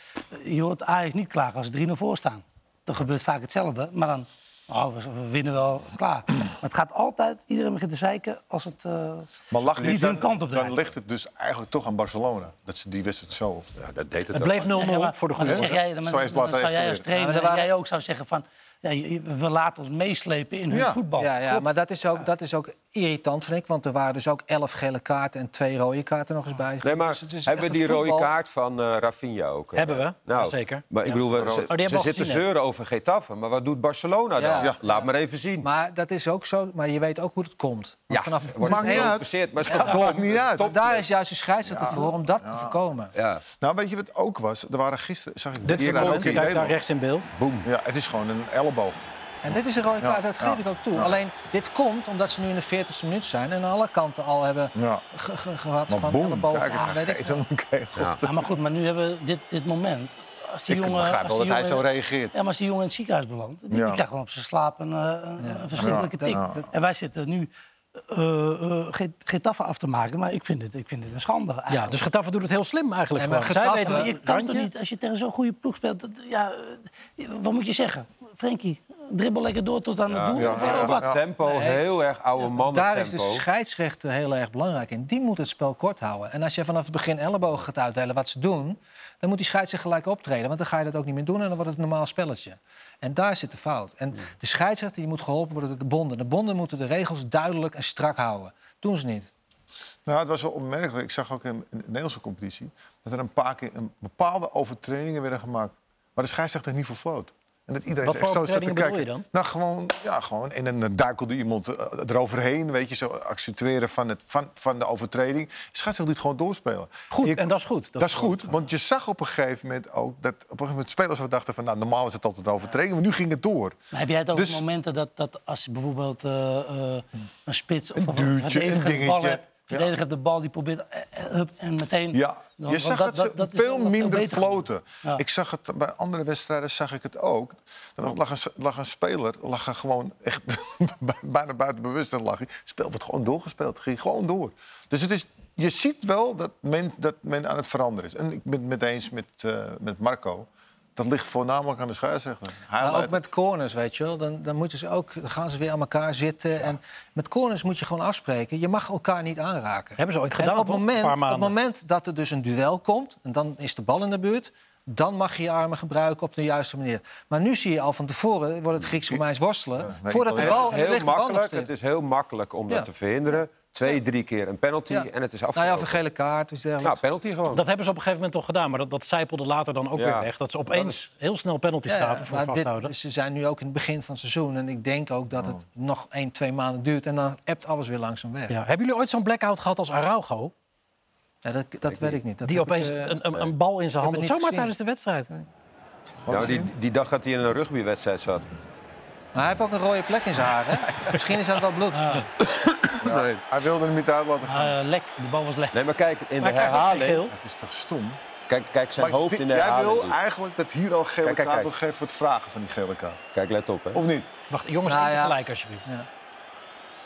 Eh, Je hoort Ajax niet klagen als ze 3-0 voor staan. Dan gebeurt vaak hetzelfde, maar dan... Oh, we- we winnen wel, klaar. Maar het gaat altijd, iedereen begint te zeiken als het... eh,
Maar lag
Niet hun kant op
Dan
draaien.
ligt het dus eigenlijk toch aan Barcelona. Dat ze die wedstrijd zo...
Ja, dat deed het,
Het
ook.
bleef 0-0
Ja, maar-
voor de goede
maar Oh, dan zeg
orde.
jij, dan,
Zo
dan-
heeft Blatter
dan zou jij als
gespeeld.
trainer,
Ja, maar
en
er waren-
jij ook zou zeggen van... Ja, je- we laten ons meeslepen in hun
Ja.
voetbal.
Ja, ja maar dat is, ook, dat is ook irritant, vind ik. Want er waren dus ook 11 gele kaarten en twee rode kaarten nog
Ah.
eens bij.
Nee, maar
Dus het is
hebben we
echt
die
het
rode
voetbal.
kaart van eh Rafinha ook? eh?
Hebben we,
nou,
zeker.
Maar ik
Oh,
bedoel, we- ze,
hebben we al
ze zitten
gezien, hè?
zeuren over Getafe. Maar wat doet Barcelona
Ja.
dan?
Ja.
Laat maar even zien.
Maar dat is ook zo. Maar je weet ook hoe het komt. Want
ja,
vanaf
wordt
Maakt niet
heel
uit.
geïnteresseerd, maar het is toch dom.
niet uit.
Top.
daar is juist de scheidsrechter voor om dat te voorkomen.
Ja,
Nou, weet je wat ook was? Er waren gisteren... Zag ik
Dit is het
Era ook
moment,
in
kijk daar
Nederland.
rechts in beeld.
boem.
Ja, het is gewoon een elleboog.
En dit is een rode
Ja,
kaart, dat geef
ja,
ik ook toe.
ja.
Alleen, dit komt omdat ze nu in de 40ste minuut zijn... en aan alle kanten al hebben
Ja.
ge- ge- gehad
Maar
van
boem,
ellebogen
kijk eens,
aan,
hij
weet ik
geeft hem een kegel.
Ja.
Ja, maar goed, maar nu hebben we dit, dit moment. Als die
Ik
jongen,
begrijp
als
wel
die
dat hij zo
jongen-
reageert.
Ja, maar als die jongen in het ziekenhuis belandt, die, die
Ja.
krijgt gewoon op zijn slaap een, eh, een, een verschrikkelijke
Ja,
tik.
dat-
En wij zitten nu eh, eh, Get- Getafe af te maken, maar ik vind dit, ik vind dit een schande. eigenlijk.
Ja, dus Getafe doet het heel slim eigenlijk.
Nee, maar
gewoon. Zij
Getafe-
weten
je
het
kan toch
kantje.
niet, als je tegen zo'n goede ploeg speelt, dat- ja, eh, wat moet je zeggen? Frenkie, dribbel lekker door tot aan het doel.
Ja,
of, eh,
ja,
wat?
Tempo, heel erg oude mannen
Daar is de
tempo.
scheidsrechter heel erg belangrijk in. Die moet het spel kort houden. En als je vanaf het begin ellebogen gaat uitdelen wat ze doen... dan moet die scheidsrechter gelijk optreden. Want dan ga je dat ook niet meer doen en dan wordt het een normaal spelletje. En daar zit de fout. En de scheidsrechter die moet geholpen worden door de bonden. De bonden moeten de regels duidelijk en strak houden. Doen ze niet.
Nou, het was wel opmerkelijk. Ik zag ook in, in de Nederlandse competitie... dat er een paar keer een bepaalde overtredingen werden gemaakt... waar de scheidsrechter niet voor floot. En dat iedereen
Wat
echt
voor
zo zat te
overtredingen bedoel je
kijken.
dan?
Nou, gewoon, ja, gewoon. En dan eh, duikelde iemand eh, eroverheen, weet je, zo accentueren van, het, van, van de overtreding. De scheidsrechter liet gewoon doorspelen.
Goed,
Je-
en dat is goed.
Dat, is goed, want je zag op een gegeven moment ook dat op een gegeven moment spelers wel dachten van, nou, normaal is het altijd een overtreding, maar nu ging het door.
Maar heb jij het over
Dus-
momenten dat, dat als bijvoorbeeld eh, eh, een spits of
Een duwtje, een
verdediger de bal
dingetje.
hebt, verdediger heeft de bal die probeert eh, eh, hup, en meteen.
Ja,
Dan-
je
want
zag dat, ze
is
veel
wel wat
minder
beter gaan doen.
floten.
Ja.
Ik zag het bij andere wedstrijden zag ik het ook. Er lag een, lag een speler, lag er gewoon echt (laughs) bijna buiten bewustzijn lag. hij. Het spel werd gewoon doorgespeeld, het ging gewoon door. Dus het is, je ziet wel dat men, dat men aan het veranderen is. En ik ben het met eens met, eh, met Marco. Dat ligt voornamelijk aan de scheidsrechter. Hij
Maar ook
leidt-
met corners, weet je wel. Dan, dan, moeten ze ook, dan gaan ze weer aan elkaar zitten. En met corners moet je gewoon afspreken. Je mag elkaar niet aanraken.
Hebben ze ooit gedaan,
en op
toch?
het
Een
moment,
paar
op het
maanden.
moment dat er dus een duel komt... en dan is de bal in de buurt... dan mag je je armen gebruiken op de juiste manier. Maar nu zie je al van tevoren... wordt het Grieks-Romeins worstelen.
nee,
voordat de
het
En
bal,
het, is
ligt
heel
de bal nog
makkelijk, het
steeds.
is heel makkelijk om
Ja.
dat te verhinderen. Twee, drie keer een penalty
Ja.
en het is
Nou
afgelopen.
ja, voor gele kaart, iets
Nou,
dergelijks.
penalty gewoon.
Dat hebben ze op een gegeven moment toch gedaan, maar dat, dat zijpelde later dan ook
Ja.
weer weg. Dat ze opeens heel snel penalties
Ja,
gaven voor
maar dit-
vasthouden.
ze zijn nu ook in het begin van het seizoen. En ik denk ook dat
Oh.
het nog één, twee maanden duurt. En dan ebt alles weer langzaam weg.
Ja. Hebben jullie ooit zo'n blackout gehad als Araujo?
Ja, dat dat weet ik niet. Dat
Die
heb ik,
opeens
eh,
een, een, een bal in zijn
het
handen...
niet
Zomaar
gezien.
tijdens de wedstrijd.
nou, die, die dag dat hij in een rugbywedstrijd zat.
Maar hij heeft ook een rode plek in zijn haar, (laughs) hè? Misschien is dat wel bloed.
Nee.
Hij wilde hem niet uit laten gaan.
Ah, lek, de bal was lek.
nee, maar kijk, in
Maar
de
hij krijgt ook geen
herhaling...
geel.
Het is toch stom?
Kijk, kijk zijn
Maar
hoofd
dit-
in de
jij
herhaling.
wil
doet.
eigenlijk dat hier al gele
Kijk, kijk,
kaart
kijk.
wordt gegeven voor het vragen van die gele kaart.
Kijk, let op. Hè.
Of niet?
Wacht, jongens,
Nou
één
ja.
tegelijk alsjeblieft.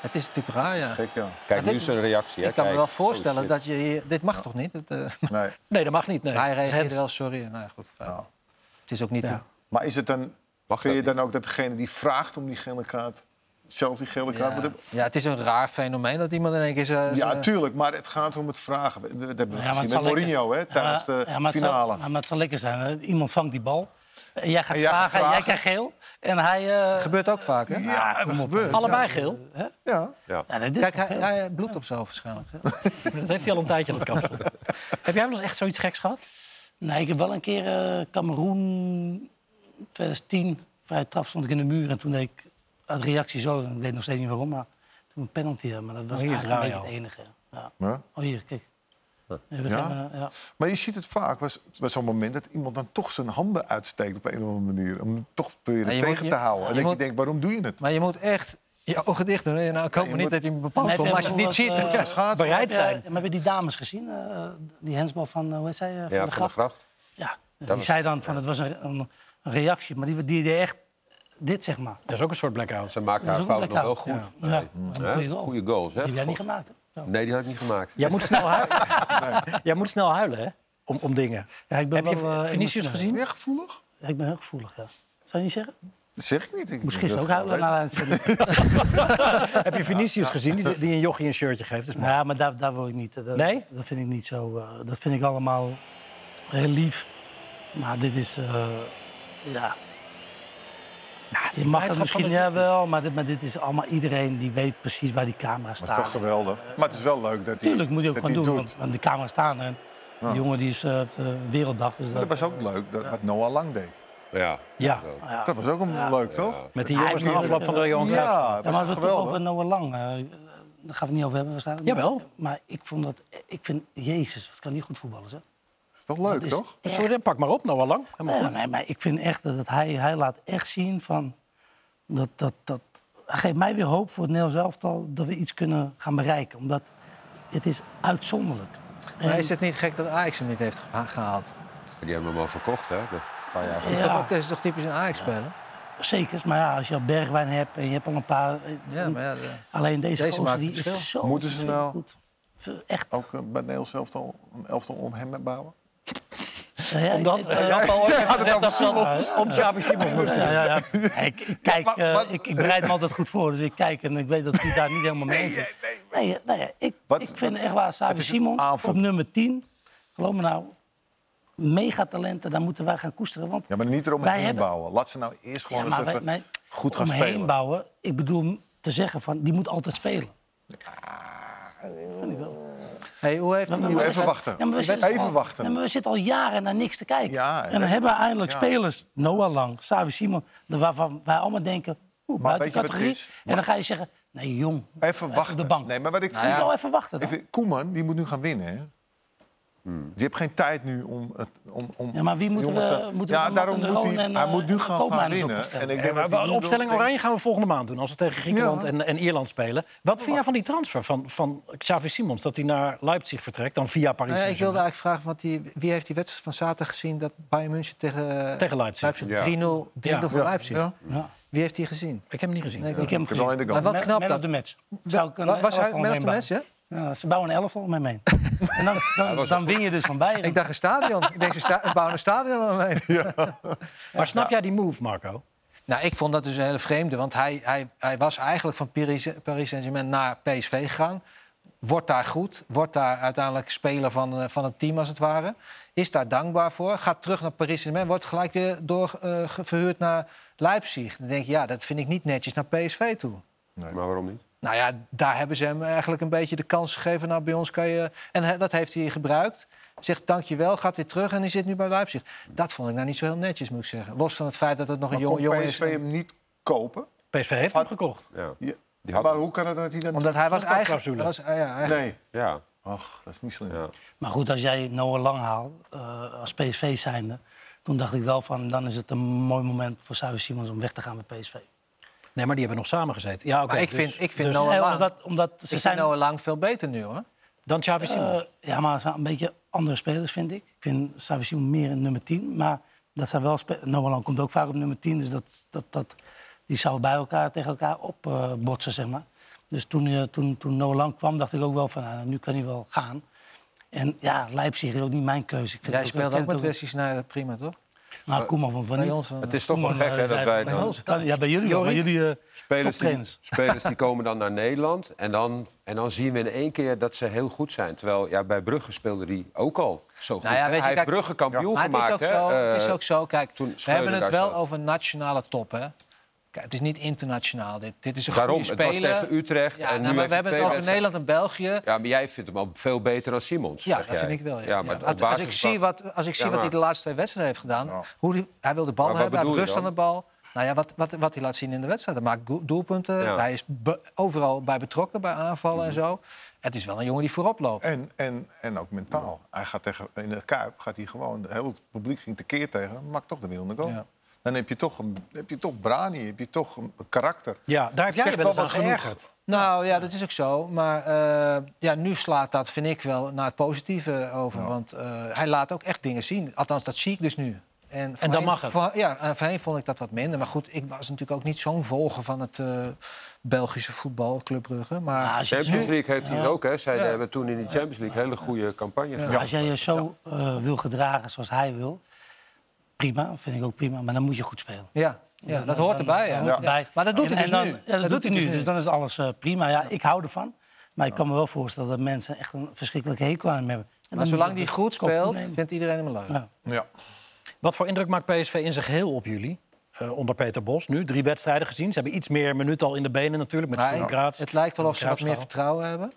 Het is natuurlijk raar, ja.
Kijk ja.
Kijk,
Maar
nu
dit-
zijn reactie. Hè.
Ik kan me
Kijk.
wel voorstellen
Oh, shit.
dat je hier... Dit mag toch niet? Het, eh, (laughs)
Nee.
Nee, dat mag niet. Nee.
Hij reageerde
Rens.
wel sorry. Nou ja, goed. fijn.
Ja.
Het is ook niet...
Ja.
Maar is het dan,
Mag
vind je
dat
dan ook dat degene die vraagt om die gele kaart zelf die gele kaart moet
Ja.
hebben?
Ja, het is een raar fenomeen dat iemand in één keer... zo- zo-
Ja, tuurlijk, maar het gaat om het vragen. We- we- Dat hebben we
eh, Ja, maar
gezien
het
met
zal
Mourinho hè, tijdens
Ja, maar-
de
ja, maar het zal-
finale.
ja, maar het zal lekker zijn. hè. Iemand vangt die bal. En jij gaat
En jij gaat
vragen, en jij
vragen.
krijgt geel. En hij... eh,
gebeurt ook vaak, hè?
Ja, dat gebeurt.
Allebei geel.
Ja.
ja, nee, dit is
Kijk,
toch
hij,
geel.
hij heeft bloed op zijn hoofd waarschijnlijk. hè?
Dat heeft hij al een tijdje, dat kapsel. (laughs) Heb jij wel eens echt zoiets geks gehad?
Nee, ik heb wel een keer eh Cameroen 2010. Vrij trap stond ik in de muur. En toen deed ik uit reactie zo. en Ik weet nog steeds niet waarom, maar toen een penalty. hè, Maar dat was
Oh, hier,
eigenlijk een
draai
beetje het enige. Ja.
Ja.
Oh, hier, kijk. We hebben
Ja? Oh,
geen, eh, ja.
Maar je ziet het vaak was- bij zo'n moment dat iemand dan toch zijn handen uitsteekt op een of andere manier. Om hem toch proberen
Ja, je
tegen
moet-
te houden.
je
En dat
moet-
je denkt, waarom doe je het?
Maar je moet echt je ogen dicht doen. hè? Nou, ik hoop
je
maar niet
moet-
dat hij me bepaalt
Nee,
komt. Maar als je het niet
dat,
ziet...
eh,
dan-
Ja, schaats.
Bereid
Ja,
zijn.
maar hebben die dames gezien? eh, die hensbal van, eh, hoe heet zij? eh,
Ja,
de
van de
Gracht?
gracht.
Ja, die
was-
zei dan van het was een, een een reactie, maar die, die deed echt dit, zeg maar.
Dat is ook een soort blackout.
Ze maakt
Dat
haar
is ook een
fout nog wel
blackout.
goed.
Ja. Ja. Ja.
Hè? Goeie goals, hè?
Die jij niet
God.
gemaakt. hè? Zo.
Nee, die had ik niet gemaakt.
Jij moet snel huilen, Jij moet snel huilen hè? Om, om dingen.
Ja, ik ben
Heb je
wel, eh,
Vinicius
emotioneel.
gezien?
Ja, gevoelig?
Ja, ik ben heel gevoelig, ja. Zou je niet zeggen? Ik
Dat zeg ik niet. Ik
moest gisteren ook huilen na de uitzending.
Heb je Vinicius gezien die, die een jochie een shirtje geeft? Dus Dat is mooi.
Ja, maar daar, daar wil ik niet. eh, Dat,
Nee?
Dat vind ik niet zo. eh, dat vind ik allemaal heel lief. Maar dit is, eh, ja...
Nou,
je mag het
blijdschap van
misschien
het-
ja, wel, maar dit, maar dit is allemaal iedereen die weet precies waar die camera
Dat is toch
staat.
geweldig. Maar het is wel leuk dat hij
Tuurlijk moet je ook
dat
gewoon
hij
doen,
doet.
want, want de camera's staan er. En Die jongen die is eh, op de werelddag. Dus
Maar
dat,
Dat was ook leuk, dat, wat Noah Lang deed.
Ja.
Ja,
ja.
Dat was ook een leuk, toch?
met die jongens na
Eigenlijk-
afloop van de Johan
Ja,
Cruijff.
dat
Ja,
was
maar als we het toch
geweldig.
over Noah Lang, eh, daar gaan we het niet over hebben waarschijnlijk.
Jawel.
Maar ik vond dat, ik vind, jezus, wat kan die goed voetballen, zeg.
Toch leuk,
is-
toch?
Zo, Oh, dan pak maar op, Noah Lang. Helemaal
Nee,
goed.
nee, maar ik vind echt dat hij, hij laat echt zien van, dat, dat, dat, hij geeft mij weer hoop voor het Nederlands elftal dat we iets kunnen gaan bereiken. Omdat het is uitzonderlijk.
Maar
En-
is het niet gek dat Ajax hem niet heeft geha- gehaald?
Die hebben hem al verkocht, hè? Een paar jaar
Dat
geleden.
is,
Ja.
toch, ook- dat is toch typisch een Ajax-speler?
Zeker, maar ja, als je al Bergwijn hebt en je hebt al een paar... eh,
Ja, maar ja, de-
Alleen deze,
Deze
gozer
maakt
die
het verschil.
is zo
Moeten ze
ontzettend
nou-
goed. Ver- Echt.
Ook eh, bij het Nederlands elftal, een elftal om hem bouwen.
Ja, (laughs) ja,
Omdat
ik-
eh, Jan al ooit heeft gezegd dat ze dan om Xavi Simons moesten.
Ja, ja, ja. Nee, Ik, ik kijk,
Maar-
eh,
maar-
ik, ik bereid me altijd goed voor, dus ik kijk en ik weet dat hij daar niet helemaal mee zit. Nee, eh, nee, eh, ik,
Wat-
ik vind echt waar,
het
Savi
is een
Simons
aanval.
op nummer 10, geloof me nou, megatalenten, daar moeten wij gaan koesteren. Want
Ja, maar niet
Wij
eromheen
hebben-
bouwen. Laat ze nou eerst gewoon eens
wij-
even
wij-
goed gaan
omheen
spelen.
bouwen, ik bedoel te zeggen van, die moet altijd spelen.
Hey, hoe heeft hij...
Nou, Even wachten.
Ja, Nou, maar we zitten
Even
al,
wachten.
Ja, maar we zitten al jaren naar niks te kijken.
Ja,
en dan
ja.
hebben we eindelijk
Ja.
spelers, Noah Lang, Savi Simon, de- waarvan wij allemaal denken, oeh, buiten
weet je wat het
categorie.
is?
En dan ga je zeggen, nee jong,
Even wachten.
op de bank.
Nee, maar wat ik
Nou, je zou even wachten dan.
Even, Koeman, die moet nu gaan winnen, hè? Die heeft geen tijd nu om... Het, om, om
Ja, maar wie moeten we-
jongens, eh,
moeten we
ja,
Van
daarom
Marken,
moet hij...
Roon en,
hij
eh,
moet nu
en
gaan,
Koopmijnen is
gaan winnen.
opgesteld.
En ik
Ja,
denk
maar
dat hij
een
nu wel
opstelling
denkt-
Oranje gaan we volgende maand doen. Als we tegen Griekenland
Ja.
en, en Ierland spelen. Wat vind jij van die transfer van, van Xavi Simons? Dat hij naar Leipzig vertrekt, dan via Paris.
Nou ja, ik wilde
Saint-Germain.
eigenlijk vragen, want die, wie heeft die wedstrijd van zaterdag gezien... dat Bayern München tegen, eh,
Tegen Leipzig.
Ja.
3-0 3-0 voor Leipzig?
Ja.
Ja.
Wie heeft die gezien?
Ik heb hem niet gezien.
Nee, ik ook
Ik heb hem
Ik heb wel in
gezien.
de
Maar
goal.
wat
Man-
knap
man
dat-
of the match.
Wa-
Zou ik een
was hij
elftal
man of the
nemen.
match, hè?
Ja, ze bouwen een elftal met
(laughs)
mee. En dan, dan, dan win je dus van Bayern.
Ik dacht een stadion. Ik denk, ze sta- bouwen een stadion aan mee.
Maar snap jij die move, Marco?
Nou, ik vond dat dus een hele vreemde. Want hij, hij, hij was eigenlijk van Paris, Paris Saint-Germain naar PSV gegaan. Wordt daar goed. Wordt daar uiteindelijk speler van, eh, van het team, als het ware. Is daar dankbaar voor. Gaat terug naar Paris Saint-Germain. Wordt gelijk weer door, eh, ge- verhuurd naar Leipzig. Dan denk je, ja, dat vind ik niet netjes naar PSV toe.
Maar waarom niet?
Nou ja, daar hebben ze hem eigenlijk een beetje de kans gegeven. Nou, bij ons kan je... En he- dat heeft hij gebruikt. Zegt dankjewel, gaat weer terug en hij zit nu bij Leipzig. Dat vond ik nou niet zo heel netjes, moet ik zeggen. Los van het feit dat het nog
Maar
een jong,
kon
jongen
PSV
is. en-
hem niet kopen?
PSV heeft hem gekocht.
Ja.
Ja.
Die had
maar
hem.
hoe kan het dat hij dan...
Omdat hij was eigenlijk...
Terugkoopclausule.
Was, ah ja, eigenlijk-
Nee.
ja.
Ach, dat is niet slim.
Ja.
Maar goed, als jij Noah Lang haalt eh, als PSV zijnde... toen dacht ik wel van, dan is het een mooi moment voor Xavi Simons om weg te gaan bij PSV.
Nee, maar die hebben nog samengezeten. Ja, oké.
Maar ik
dus-
vind, ik vind
dus-
Noah
Nee,
Lang...
omdat, omdat ze
ik vind
zijn...
Noah Lang veel beter nu, hoor.
Dan Xavi Simons.
eh, ja, maar ze zijn een beetje andere spelers, vind ik. Ik vind Xavi Simons meer een nummer 10. Maar dat zijn wel spe- Noah Lang komt ook vaak op nummer 10. Dus dat, dat, dat, die zouden bij elkaar tegen elkaar opbotsen, botsen, zeg maar. Dus toen, eh, toen, toen Noah Lang kwam, dacht ik ook wel van... nou, nu kan hij wel gaan. En ja, Leipzig is ook niet mijn keuze. Ik vind
Jij
het
speelt
ik
ook
ken
met
het
Wesley Sneijder, prima, toch?
Nou, Koeman vond van
Bij
niet.
ons... eh,
Het is toch wel
Koeman,
gek
eh,
hè, dat
zei-
wij
bij
dan...
ons.
Kan- Ja, bij jullie wel. Bij jullie eh,
Spelers die,
(laughs)
toptrainers.
spelers die komen dan naar Nederland en dan, en dan zien we in één keer dat ze heel goed zijn. Terwijl ja, bij Brugge speelde hij ook al zo goed.
Nou ja,
hè?
weet je,
hij heeft
kijk-
Brugge kampioen
Maar het is
gemaakt.
ook,
hè?
zo, het is
Eh,
ook zo, kijk,
toen
we
Schreuder
hebben het
daar
wel
zat.
over nationale top, hè. Kijk, het is niet internationaal, dit. Dit is een
Daarom,
goede
het was
speler. nou,
tegen Utrecht en nu
maar
heeft
we
hij
hebben
twee
het over
wedstrijden.
Nederland en België.
Ja, maar jij vindt hem al veel beter dan Simons.
Ja,
zeg
dat
jij.
vind ik wel. Ja.
maar
Ja.
op
Als, als
basis
ik zie
van-
wat, als ik zie
Ja,
wat hij
maar-
de laatste twee wedstrijden heeft gedaan... Hoe die- hij wil de bal
Maar wat
hebben, hij
bedoel
heeft
je
rust aan de bal. Nou ja, wat, wat, wat hij laat zien in de wedstrijd. Hij maakt doel- doelpunten,
Ja. Mhm.
hij is be- overal bij betrokken, bij aanvallen en zo. Het is wel een jongen die voorop loopt.
En, en, en ook mentaal. Hij gaat tegen, in de Kuip gaat hij gewoon... Het hele publiek ging tekeer tegen hem. Maakt toch de winnende goal.
Ja.
Dan heb je toch, een, heb je toch brani, heb je toch een karakter.
ja, daar heb jij
Zegt
je wel eens
wel
aan
wat genoeg.
geërgerd.
Nou ja, dat is ook zo. Maar eh, ja, nu slaat dat, vind ik wel, naar het positieve over. Want eh, hij laat ook echt dingen zien. Althans, dat zie ik dus nu. En, voorheen-
mag het.
voor- ja, en voorheen vond ik dat wat minder. Maar goed, ik was natuurlijk ook niet zo'n volger van het eh, Belgische voetbal, Club Brugge. Maar
Ja, Nou, als je-
Champions League heeft hij het ook, hè? Zij hebben toen in de Champions League hele goede campagne gedaan.
Nou, Als jij je zo eh, wil gedragen zoals hij wil, prima, vind ik ook prima. Maar dan moet je goed spelen.
ja, ja, dat hoort
Dan-
erbij.
dan
hè.
hoort
Ja.
erbij.
Maar dat doet
En-
hij dus
en dan-
nu.
ja, dat, doet hij nu. Dus dan is alles eh, prima. Ja, ik hou ervan. Maar ik kan me wel voorstellen dat mensen echt een verschrikkelijke hekel aan hem hebben. En dan
Maar
moet je
zolang
dat
die
dus
goed
kop
speelt,
nemen.
vindt iedereen hem leuk.
Ja.
Ja.
Wat voor indruk maakt PSV in zijn geheel op jullie? Eh, onder Peter Bos. Nu drie wedstrijden gezien. Ze hebben iets meer minuten al in de benen natuurlijk. Met
Maar
Sturm
ik-
Graz.
het lijkt wel of ze wat meer
Graafschouw.
vertrouwen hebben.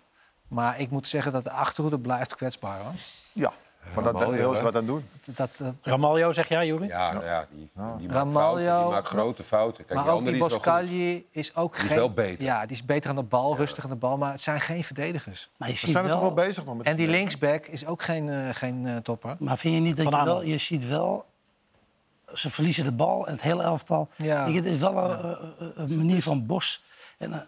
Maar ik moet zeggen dat de achterhoede blijft kwetsbaar. Hoor.
ja. Maar dat
Ramaljo,
wil
hè?
ze wat aan doen.
Dat, dat, eh, dat-
Ramaljo, zeg jij, Juri?
Ja, nou ja, die, die, maakt
Ramaljo.
fouten, die maakt grote fouten. Kijk,
Maar
die
ook
andere
die
die is wel goed.
Boscagli is ook
is
geen...
wel beter.
Ja, die is beter aan de bal, rustig aan de bal. Maar het zijn geen verdedigers.
Maar je
We
ziet
zijn er toch
wel...
wel bezig nog met
En die linksback is ook geen, eh, geen eh, topper.
Maar vind je niet dat je
Vanavond.
wel... Je ziet wel... Ze verliezen de bal en het hele elftal.
Ja.
Ik, het is wel een, eh, eh, een manier van Bos. En, eh,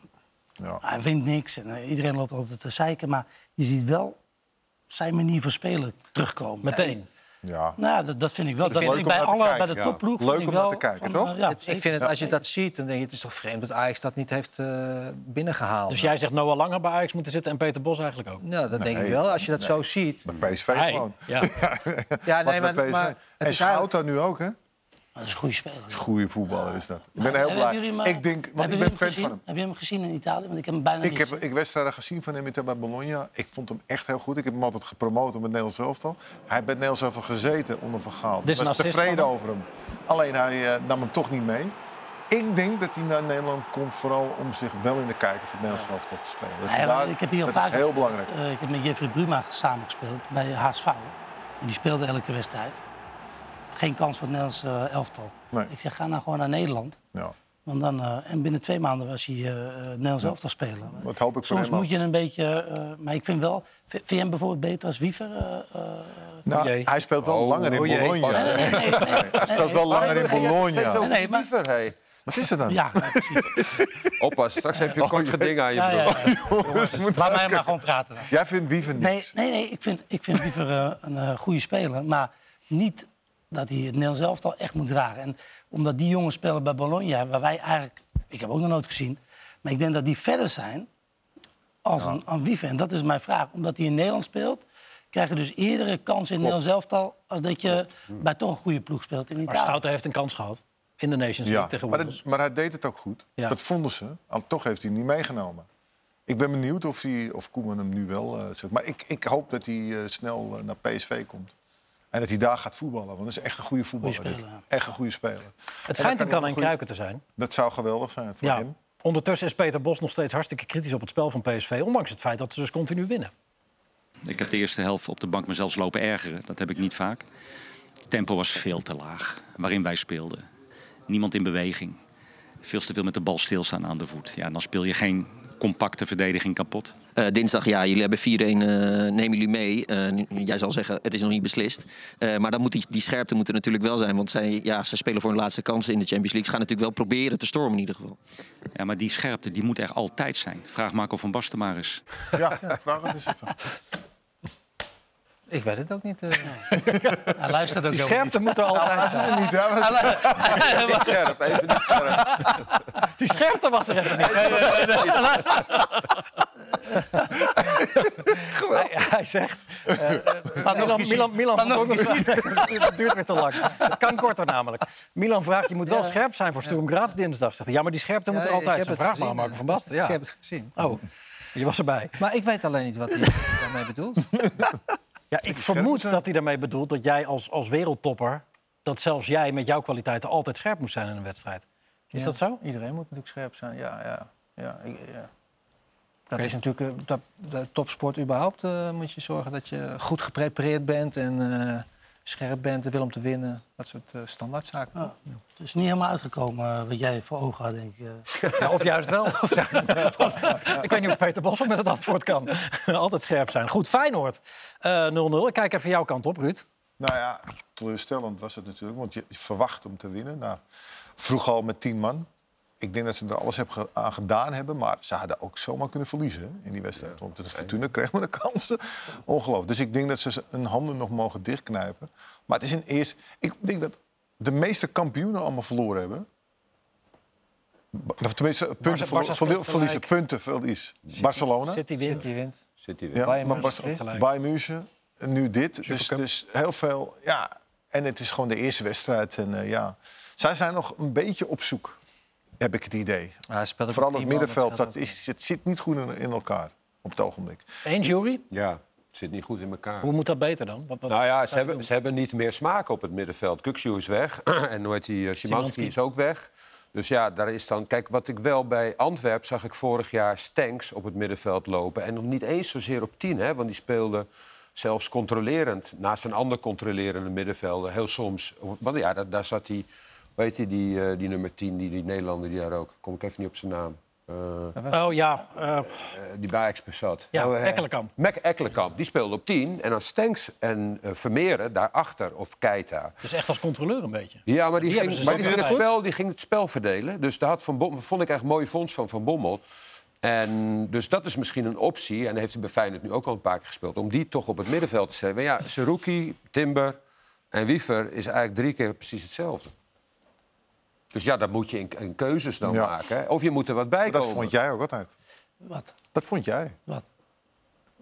Ja.
Hij wint niks en eh, iedereen loopt altijd te zeiken. Maar je ziet wel zijn manier van spelen terugkomen.
Meteen.
Ja.
Nou, ja, dat, dat vind ik wel. Dat
leuk
vind ik
om
bij
naar te
alle,
kijken,
bij de
ja.
topploeg.
Leuk
vind ik
om naar
wel
te kijken,
van,
toch?
eh, ja,
Het- ik
zeker.
vind het, als je dat ziet, dan denk je... het is toch vreemd dat Ajax dat niet heeft eh, binnengehaald.
Dus jij zegt Noah Langer bij Ajax moeten zitten en Peter Bos eigenlijk ook.
Nou, dat denk
Nee,
ik wel. Als je dat zo
(laughs)
ziet...
Met PSV
Hij?
gewoon.
Ja.
Was
Ja, nee,
met
maar,
PSV.
maar
en
het is eigenlijk...
Schouten nu ook, hè?
Maar dat is een goede speler.
Goede voetballer is dat. Ik ben heel
Hebben
blij.
jullie hem, eh,
Ik denk, want
hebben
ik
jullie
ben fan
gezien?
van hem.
Heb je hem gezien in Italië? Want ik heb hem bijna
Ik
Nou, niet
heb
gezien.
ik wedstrijden gezien van hem in- bij Bologna. Ik vond hem echt heel goed. Ik heb hem altijd gepromoot met Nederlands elftal. Hij heeft bij Nederlands elftal gezeten onder Van Gaal.
Dit is
Ik
een
was
assist
tevreden
van hem.
over hem. Alleen hij eh, nam hem toch niet mee. Ik denk dat hij naar Nederland komt vooral om zich wel in de kijker voor het Nederlands elftal te spelen. Dat
Nee,
hij
want
daar-
eh, ik heb hier al
dat
vaak
is heel belangrijk.
eh, ik heb met Jeffrey Bruma samengespeeld bij HSV. En die speelde elke wedstrijd. Geen kans voor het Nederlands eh, elftal.
Nee.
Ik zeg, ga nou gewoon naar Nederland.
Ja.
Want dan, eh, en binnen twee maanden was hij eh eh, Nederlands elftal spelen.
Dat hoop ik voor
Soms
hem ook.
moet je een beetje... eh, maar ik vind wel... Vind vind je hem bijvoorbeeld beter als Wiever? eh, eh,
(laughs) Nou,
jee.
hij speelt wel
Oh,
langer in
oh jee.
Bologna.
Pas,
Hij
nee, nee, nee,
speelt wel langer in Bologna.
Nee, maar-
Liever, hé.
Wat is het (laughs) dan?
Ja, ja, precies.
Oppas, straks heb je een kort geding aan je
Oh, Ja, ja,
broek.
(laughs)
ja.
Dus
Laat mij maar gewoon praten. dan.
Jij vindt Wieven
Nee,
niks.
nee, nee ik, vind, ik vind liever eh, een eh, goede speler. Maar niet dat hij het Nederlands elftal echt moet dragen. En omdat die jongens spelen bij Bologna, waar wij eigenlijk... Ik heb ook nog nooit gezien. Maar ik denk dat die verder zijn als een een Anwife. En dat is mijn vraag. Omdat hij in Nederland speelt, krijg je dus eerdere kansen in het Nederlands elftal... als dat je bij toch een goede ploeg speelt in
Maar
Italië.
Schouten heeft een kans gehad in de Nations League tegen
maar,
Wales.
dat- maar hij deed het ook goed.
Ja.
Dat vonden ze. Al, toch heeft hij hem niet meegenomen. Ik ben benieuwd of, hij, of Koeman hem nu wel eh, zet. Maar ik, ik hoop dat hij eh, snel eh, naar PSV komt. En dat hij daar gaat voetballen. Want dat is echt een goede voetballer.
Goeie
dit.
speler,
Echt een goede speler.
Het schijnt een
kan
kan
ook
en
goed-
kruiken te zijn.
Dat zou geweldig zijn voor
Ja.
hem.
Ondertussen is Peter Bos nog steeds hartstikke kritisch op het spel van PSV. Ondanks het feit dat ze dus continu winnen.
Ik heb de eerste helft op de bank mezelf lopen ergeren. Dat heb ik niet vaak. Tempo was veel te laag waarin wij speelden. Niemand in beweging. Veel te veel met de bal stilstaan aan de voet. Ja, dan speel je geen compacte verdediging kapot.
Eh, dinsdag, ja, jullie hebben 4-1, eh, nemen jullie mee. Eh, nu- jij zal zeggen, het is nog niet beslist. Eh, maar dan moet die, die scherpte moet er natuurlijk wel zijn. Want zij, ja, zij spelen voor hun laatste kansen in de Champions League. Ze gaan natuurlijk wel proberen te stormen in ieder geval.
Ja, maar die scherpte die moet er altijd zijn. Vraag Marco van Basten maar eens.
Ja, vraag het
(laughs)
eens even.
Ik weet het ook niet. eh.
Hij luistert
Die
ook helemaal niet.
scherpte moet er altijd zijn.
Niet, hè? Maar-
Niet scherp, even niet scherp.
(laughs) Die scherpte was er even niet. Hij, (laughs) hij zegt... eh, eh, Milan, Milan, Milan moet ook nog vragen. Het duurt weer te lang. Het kan korter namelijk. Milan vraagt, je moet wel scherp zijn voor Sturm Graz dinsdag. Zegt hij. Ja, maar die scherpte moet
Ja,
er
ik
altijd
heb
zijn. Vraag
het
maar aan Marco
gezien, eh.
van Basten.
Ik
Ja.
heb het gezien.
Oh, je was erbij.
Maar ik weet alleen niet wat
(laughs)
hij daarmee bedoelt.
Ja, ik vermoed dat hij daarmee bedoelt dat jij als, als wereldtopper... dat zelfs jij met jouw kwaliteiten altijd scherp moet zijn in een wedstrijd. Is dat zo?
Iedereen moet natuurlijk scherp zijn. Ja, ja, ja. ik- ja. Dat is natuurlijk... eh, Dat,
De topsport überhaupt eh, moet je zorgen dat je goed geprepareerd bent en eh, scherp bent, de wil om te winnen. Dat soort eh, standaardzaken.
Ja. Het is niet helemaal uitgekomen eh, wat jij voor ogen had, denk ik. eh.
Ja, of juist wel. ik weet niet of Peter Bos met het antwoord kan. Altijd scherp zijn. Goed, Feyenoord. eh, 0-0. ik kijk even jouw kant op, Ruud.
Nou ja, teleurstellend was het natuurlijk. Want je verwacht om te winnen. Nou, vroeg al met tien man. Ik denk dat ze er alles heb ge- aan gedaan hebben. Maar ze hadden ook zomaar kunnen verliezen hè, in die wedstrijd. Want de Fortuna kreeg maar de kansen. Ongelooflijk. Dus ik denk dat ze hun handen nog mogen dichtknijpen. Maar het is een eerste... Ik denk dat de meeste kampioenen allemaal verloren hebben. Ba- Of tenminste, punten verlo-
Barca speelt
verlie- verliezen.
gelijk.
Punten verlies. Barcelona.
City wint.
Die wint.
Zit hij weer.
Ja,
Bayern
maar
München
Bas-
verliest.
Gelijk.
Bayern München, en nu dit. Dus,
Supercup.
dus heel veel, ja. En het is gewoon de eerste wedstrijd. En eh, ja, zij zijn nog een beetje op zoek, heb ik het idee.
Ja, hij speelt ook
Vooral
met
het
tien man,
middenveld,
scheelt
dat
ook.
is, het zit niet goed in, in elkaar op het ogenblik.
Eén jury.
Ja, het zit niet goed in elkaar.
Hoe moet dat beter dan? Wat, wat-
Nou ja, ze hebben, ze hebben niet meer smaak op het middenveld. Kukshu is weg (clears throat) en hoe heet die, eh, Szymanski is ook weg. Dus ja, daar is dan... Kijk, wat ik wel bij Antwerp zag ik vorig jaar Stenks op het middenveld lopen. En nog niet eens zozeer op tien, hè. Want die speelde zelfs controlerend. Naast een ander controlerende middenvelder. Heel soms... Want ja, daar, daar zat die... Hoe heet die, die, eh, die nummer 10, die, die Nederlander die daar ook... Kom ik even niet op zijn naam. Eh,
Oh ja, eh,
die bij Ajax zat.
Ja,
eh,
Ekkelenkamp.
Mac Ekkelenkamp, die speelde op 10. En dan Stenks en eh, Vermeeren daarachter, of Keita.
dus echt als controleur een beetje.
Ja, maar die,
Die hebben
ging,
ze
maar
zo
die, ging het
goed.
spel, die ging het spel verdelen. Dus daar had van Bommel, vond ik echt een mooie vondst van Van Bommel. En dus dat is misschien een optie. En dat heeft hij bij Feyenoord nu ook al een paar keer gespeeld. Om die toch op het middenveld te zetten. Maar ja, Seruki, Timber en Wiever is eigenlijk drie keer precies hetzelfde. Dus ja, daar moet je in, in keuzes dan
Ja.
maken. hè. Of je moet er wat bij
Dat
komen.
vond jij ook altijd.
Wat?
Dat vond jij.
Wat?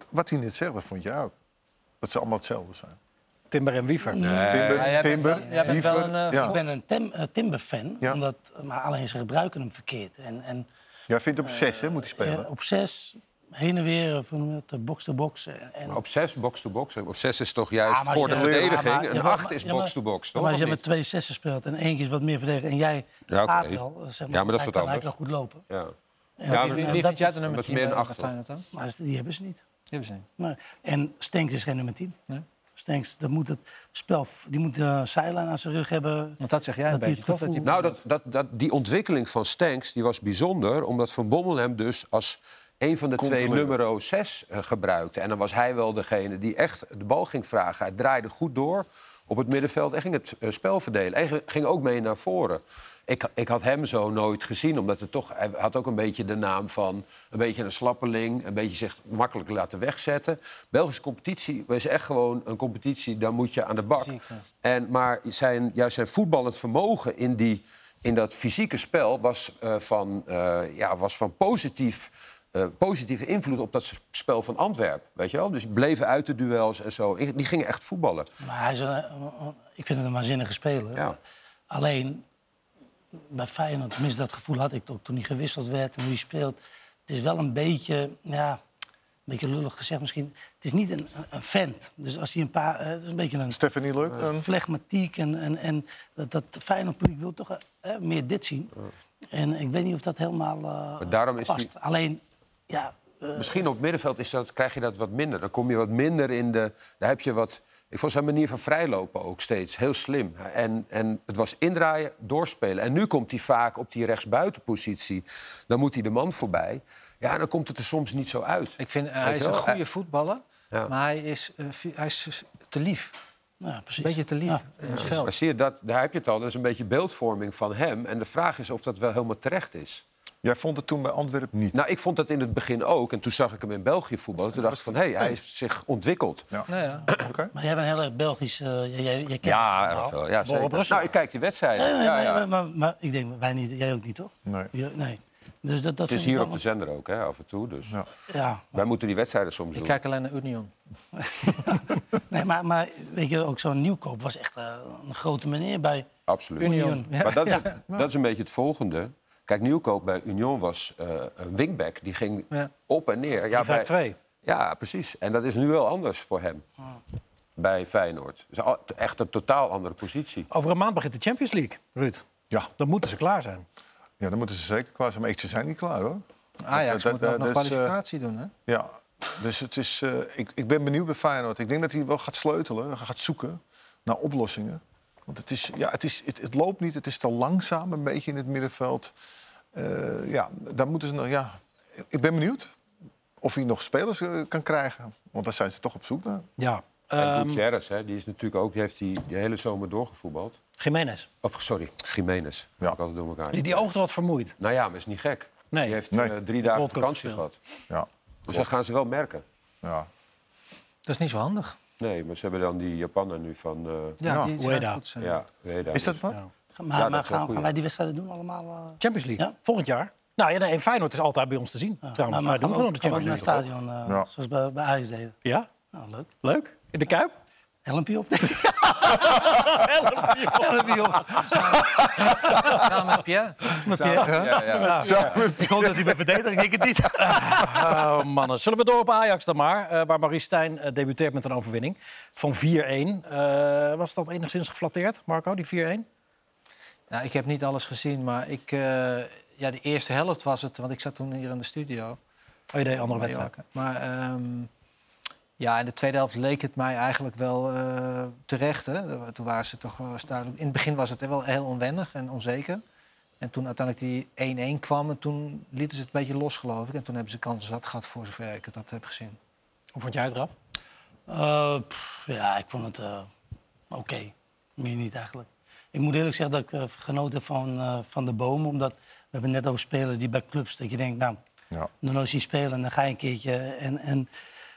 Wat hij net zegt, dat vond jij ook. Dat ze allemaal hetzelfde zijn.
Timber en Wiever.
Timber,
jij bent
Timber,
wel- jij bent
Wiever,
wel een, eh,
ja.
Ik ben een tim, eh, Timber-fan,
Ja.
omdat, maar alleen ze gebruiken hem verkeerd. En, en
Jij vindt op zes, hè, moet hij
eh,
spelen.
op zes, heen en weer, of hoe noem je dat, eh, box-to-box. En, en-
Op zes box-to-box. Op zes Oh, is toch juist
Ja, Ah, maar als
voor de
je-
verdediging.
Ja, maar- ja,
een
maar-
acht is
ja, maar-
box-to-box,
Ja,
toch?
maar als
Of
je met
niet?
twee zessen speelt en eentje is wat meer verdedigen en jij
Ja, oké.
gaat wel, eh, zeg maar,
Ja, maar dat is
hij
wat
kan eigenlijk
anders.
wel goed lopen.
Ja.
En
Ja,
dat-
Wie, wie,
en
wie
dat
vind jij
is-
de nummer
dat is
10
meer
bij,
een
bij
achter.
Feyenoord dan?
Maar die hebben ze niet.
Die hebben ze niet.
Nee. En Stenks is geen nummer 10.
Nee.
Stenks, dat moet het spel, die moet de zijlijn aan zijn rug hebben.
Want dat zeg jij een
Dat die
beetje,
het
toch? Dat die-
gevoel-
Nou, dat, dat, dat, die ontwikkeling van Stanks die was bijzonder... omdat Van Bommel hem dus als een van de twee numero zes eh, gebruikte. En dan was hij wel degene die echt de bal ging vragen. Hij draaide goed door op het middenveld en ging het eh, spel verdelen. En ging- ging ook mee naar voren. Ik, ik had hem zo nooit gezien, omdat het toch, hij had ook een beetje de naam van... een beetje een slappeling, een beetje zich makkelijk laten wegzetten. Belgische competitie is echt gewoon een competitie, daar moet je aan de bak. En, maar zijn, juist zijn voetballend vermogen in, die, in dat fysieke spel was, eh, van, eh, ja, was van positief... eh, eh, positieve invloed op dat spel van Antwerpen. Weet je wel? Dus die bleven uit de duels en zo. Die gingen echt voetballen.
Maar hij is een, ik vind het een waanzinnige speler.
Ja.
Alleen bij Feyenoord, tenminste dat gevoel had ik ook toen hij gewisseld werd en hoe hij speelt. Het is wel een beetje, ja, een beetje lullig gezegd misschien. Het is niet een, een vent. Dus als hij een paar, eh, het is een beetje een
Stephanie Leuk. een-
flegmatiek en, en, en dat, dat Feyenoord publiek wil toch eh, meer dit zien. En ik weet niet of dat helemaal eh,
Maar daarom is
past.
hij-
Alleen, ja, eh,
Misschien op het middenveld is dat, krijg je dat wat minder. Dan kom je wat minder in de. Dan heb je wat. Ik vond zijn manier van vrijlopen ook steeds heel slim. En, en het was indraaien, doorspelen. En nu komt hij vaak op die rechtsbuitenpositie. Dan moet hij de man voorbij. Ja, dan komt het er soms niet zo uit.
Ik vind, eh,
Weet
hij
je
is een
wel?
goede voetballer,
Ja.
maar hij is, eh, vi- hij is te lief.
nou ja, precies.
Een beetje te lief eh,
Ja.
in het
Maar
veld.
zie je, dat, daar heb je het al. Dat is een beetje beeldvorming van hem. En de vraag is of dat wel helemaal terecht is.
Jij vond het toen bij Antwerpen niet.
Nou, ik vond dat in het begin ook. En toen zag ik hem in België voetballen. Toen dacht ik van, hé, hey, hij heeft zich ontwikkeld.
Nou ja.
Oké.
Maar jij bent heel erg Belgisch. eh, jij, jij, jij kent
Ja,
het
erg
allemaal.
wel. Ja, zeker.
Brussel.
Nou, ik kijk die wedstrijden.
Nee, nee,
Ja,
nee,
ja.
Maar, maar, maar ik denk, wij niet, jij ook niet, toch?
Nee.
Ja, nee. Dus dat, dat
Het is
vind ik
hier op
wel-
de zender ook, hè, af en toe. Dus
Ja.
Ja,
wij moeten die wedstrijden soms
Ik
doen.
kijk alleen naar Union.
nee, maar, maar weet je, ook zo'n nieuwkoop was echt eh, een grote meneer bij
Absoluut.
Union.
Maar dat is, dat is een beetje het volgende. Kijk, Nieuwkoop bij Union was eh, een wingback. Die ging
Ja.
op en neer. Ja,
5-2.
bij- ja, precies. En dat is nu wel anders voor hem. Bij Feyenoord. Dus al- echt een totaal andere positie.
Over een maand begint de Champions League, Ruud.
Ja.
Dan moeten ze klaar zijn.
ja, dan moeten ze zeker klaar zijn. Maar echt, ze zijn niet klaar hoor.
Ajax
dat-
moet
dat-
nog een
dat is, eh,
kwalificatie doen, hè?
Ja, dus het is, eh, ik, ik ben benieuwd bij Feyenoord. Ik denk dat hij wel gaat sleutelen, gaat zoeken naar oplossingen. Want het, is, ja, het, is, het, het loopt niet, het is te langzaam een beetje in het middenveld. Eh, ja, daar moeten ze nog, ja, ik ben benieuwd of hij nog spelers eh, kan krijgen. Want daar zijn ze toch op zoek naar.
Ja.
en
Ehm
Gutierrez, hè, die, is natuurlijk ook, die heeft die, die hele zomer doorgevoetbald.
Jiménez.
Of sorry, Jiménez.
Ja.
Ik had het door elkaar.
Die, die oogde wat vermoeid.
Nou ja, maar is niet gek.
Nee.
Die heeft
Nee.
eh, drie dagen
World Cup
vakantie
gespeeld.
gehad.
Ja,
Dus dat gaan ze wel merken.
ja.
Dat is niet zo handig.
Nee, maar ze hebben dan die Japaner nu van... eh,
Ja,
Ja.
die schijnt
Ueda.
goed te zijn.
ja, Ueda.
Is dat wat?
Ja.
Maar,
dat
maar
is
gaan,
wel goed,
gaan
ja.
wij die wedstrijden doen allemaal? eh
Champions League.
Ja. Nou,
Volgend jaar. Nou ja, nee, en Feyenoord is altijd bij ons te zien. Trouwens,
maar
wij doen
gaan
gewoon
ook-
de
gaan ook
Champions League.
naar het stadion, eh,
Ja.
zoals bij, bij Ajax deden.
Ja,
Nou, leuk.
leuk. In de Kuip.
Helmpje
(laughs)
op.
Help op.
Samen met Pierre.
Ja, ja.
Ik hoop dat hij me verdedigt, ik denk het niet. Oh, mannen. Zullen we door op Ajax dan maar? eh, waar Marie Stijn eh, debuteert met een overwinning van 4-1. Eh, was dat enigszins geflatteerd, Marco, die Oh, 4-1?
Nou, ik heb niet alles gezien, maar ik, eh, ja, de eerste helft was het, want ik zat toen hier in de studio.
Oh, je deed andere
Bij
wedstrijd.
Jakken. Maar ehm, ja, in de tweede helft leek het mij eigenlijk wel eh, terecht. Hè? Toen waren ze toch wel duidelijk. In het begin was het wel heel onwennig en onzeker. En toen uiteindelijk die 1-1 kwam, en toen lieten ze het een beetje los, geloof ik. En toen hebben ze kansen zat gehad, voor zover ik het dat heb gezien.
Hoe vond jij het, Raf?
Eh, pff, ja, ik vond het eh, oké. Meer niet eigenlijk. Ik moet eerlijk zeggen dat ik eh, genoten heb van, eh, van de boom. Omdat we hebben het net over spelers die bij clubs... dat je denkt, nou,
Ja.
nog nooit zien spelen en dan ga je een keertje. En, en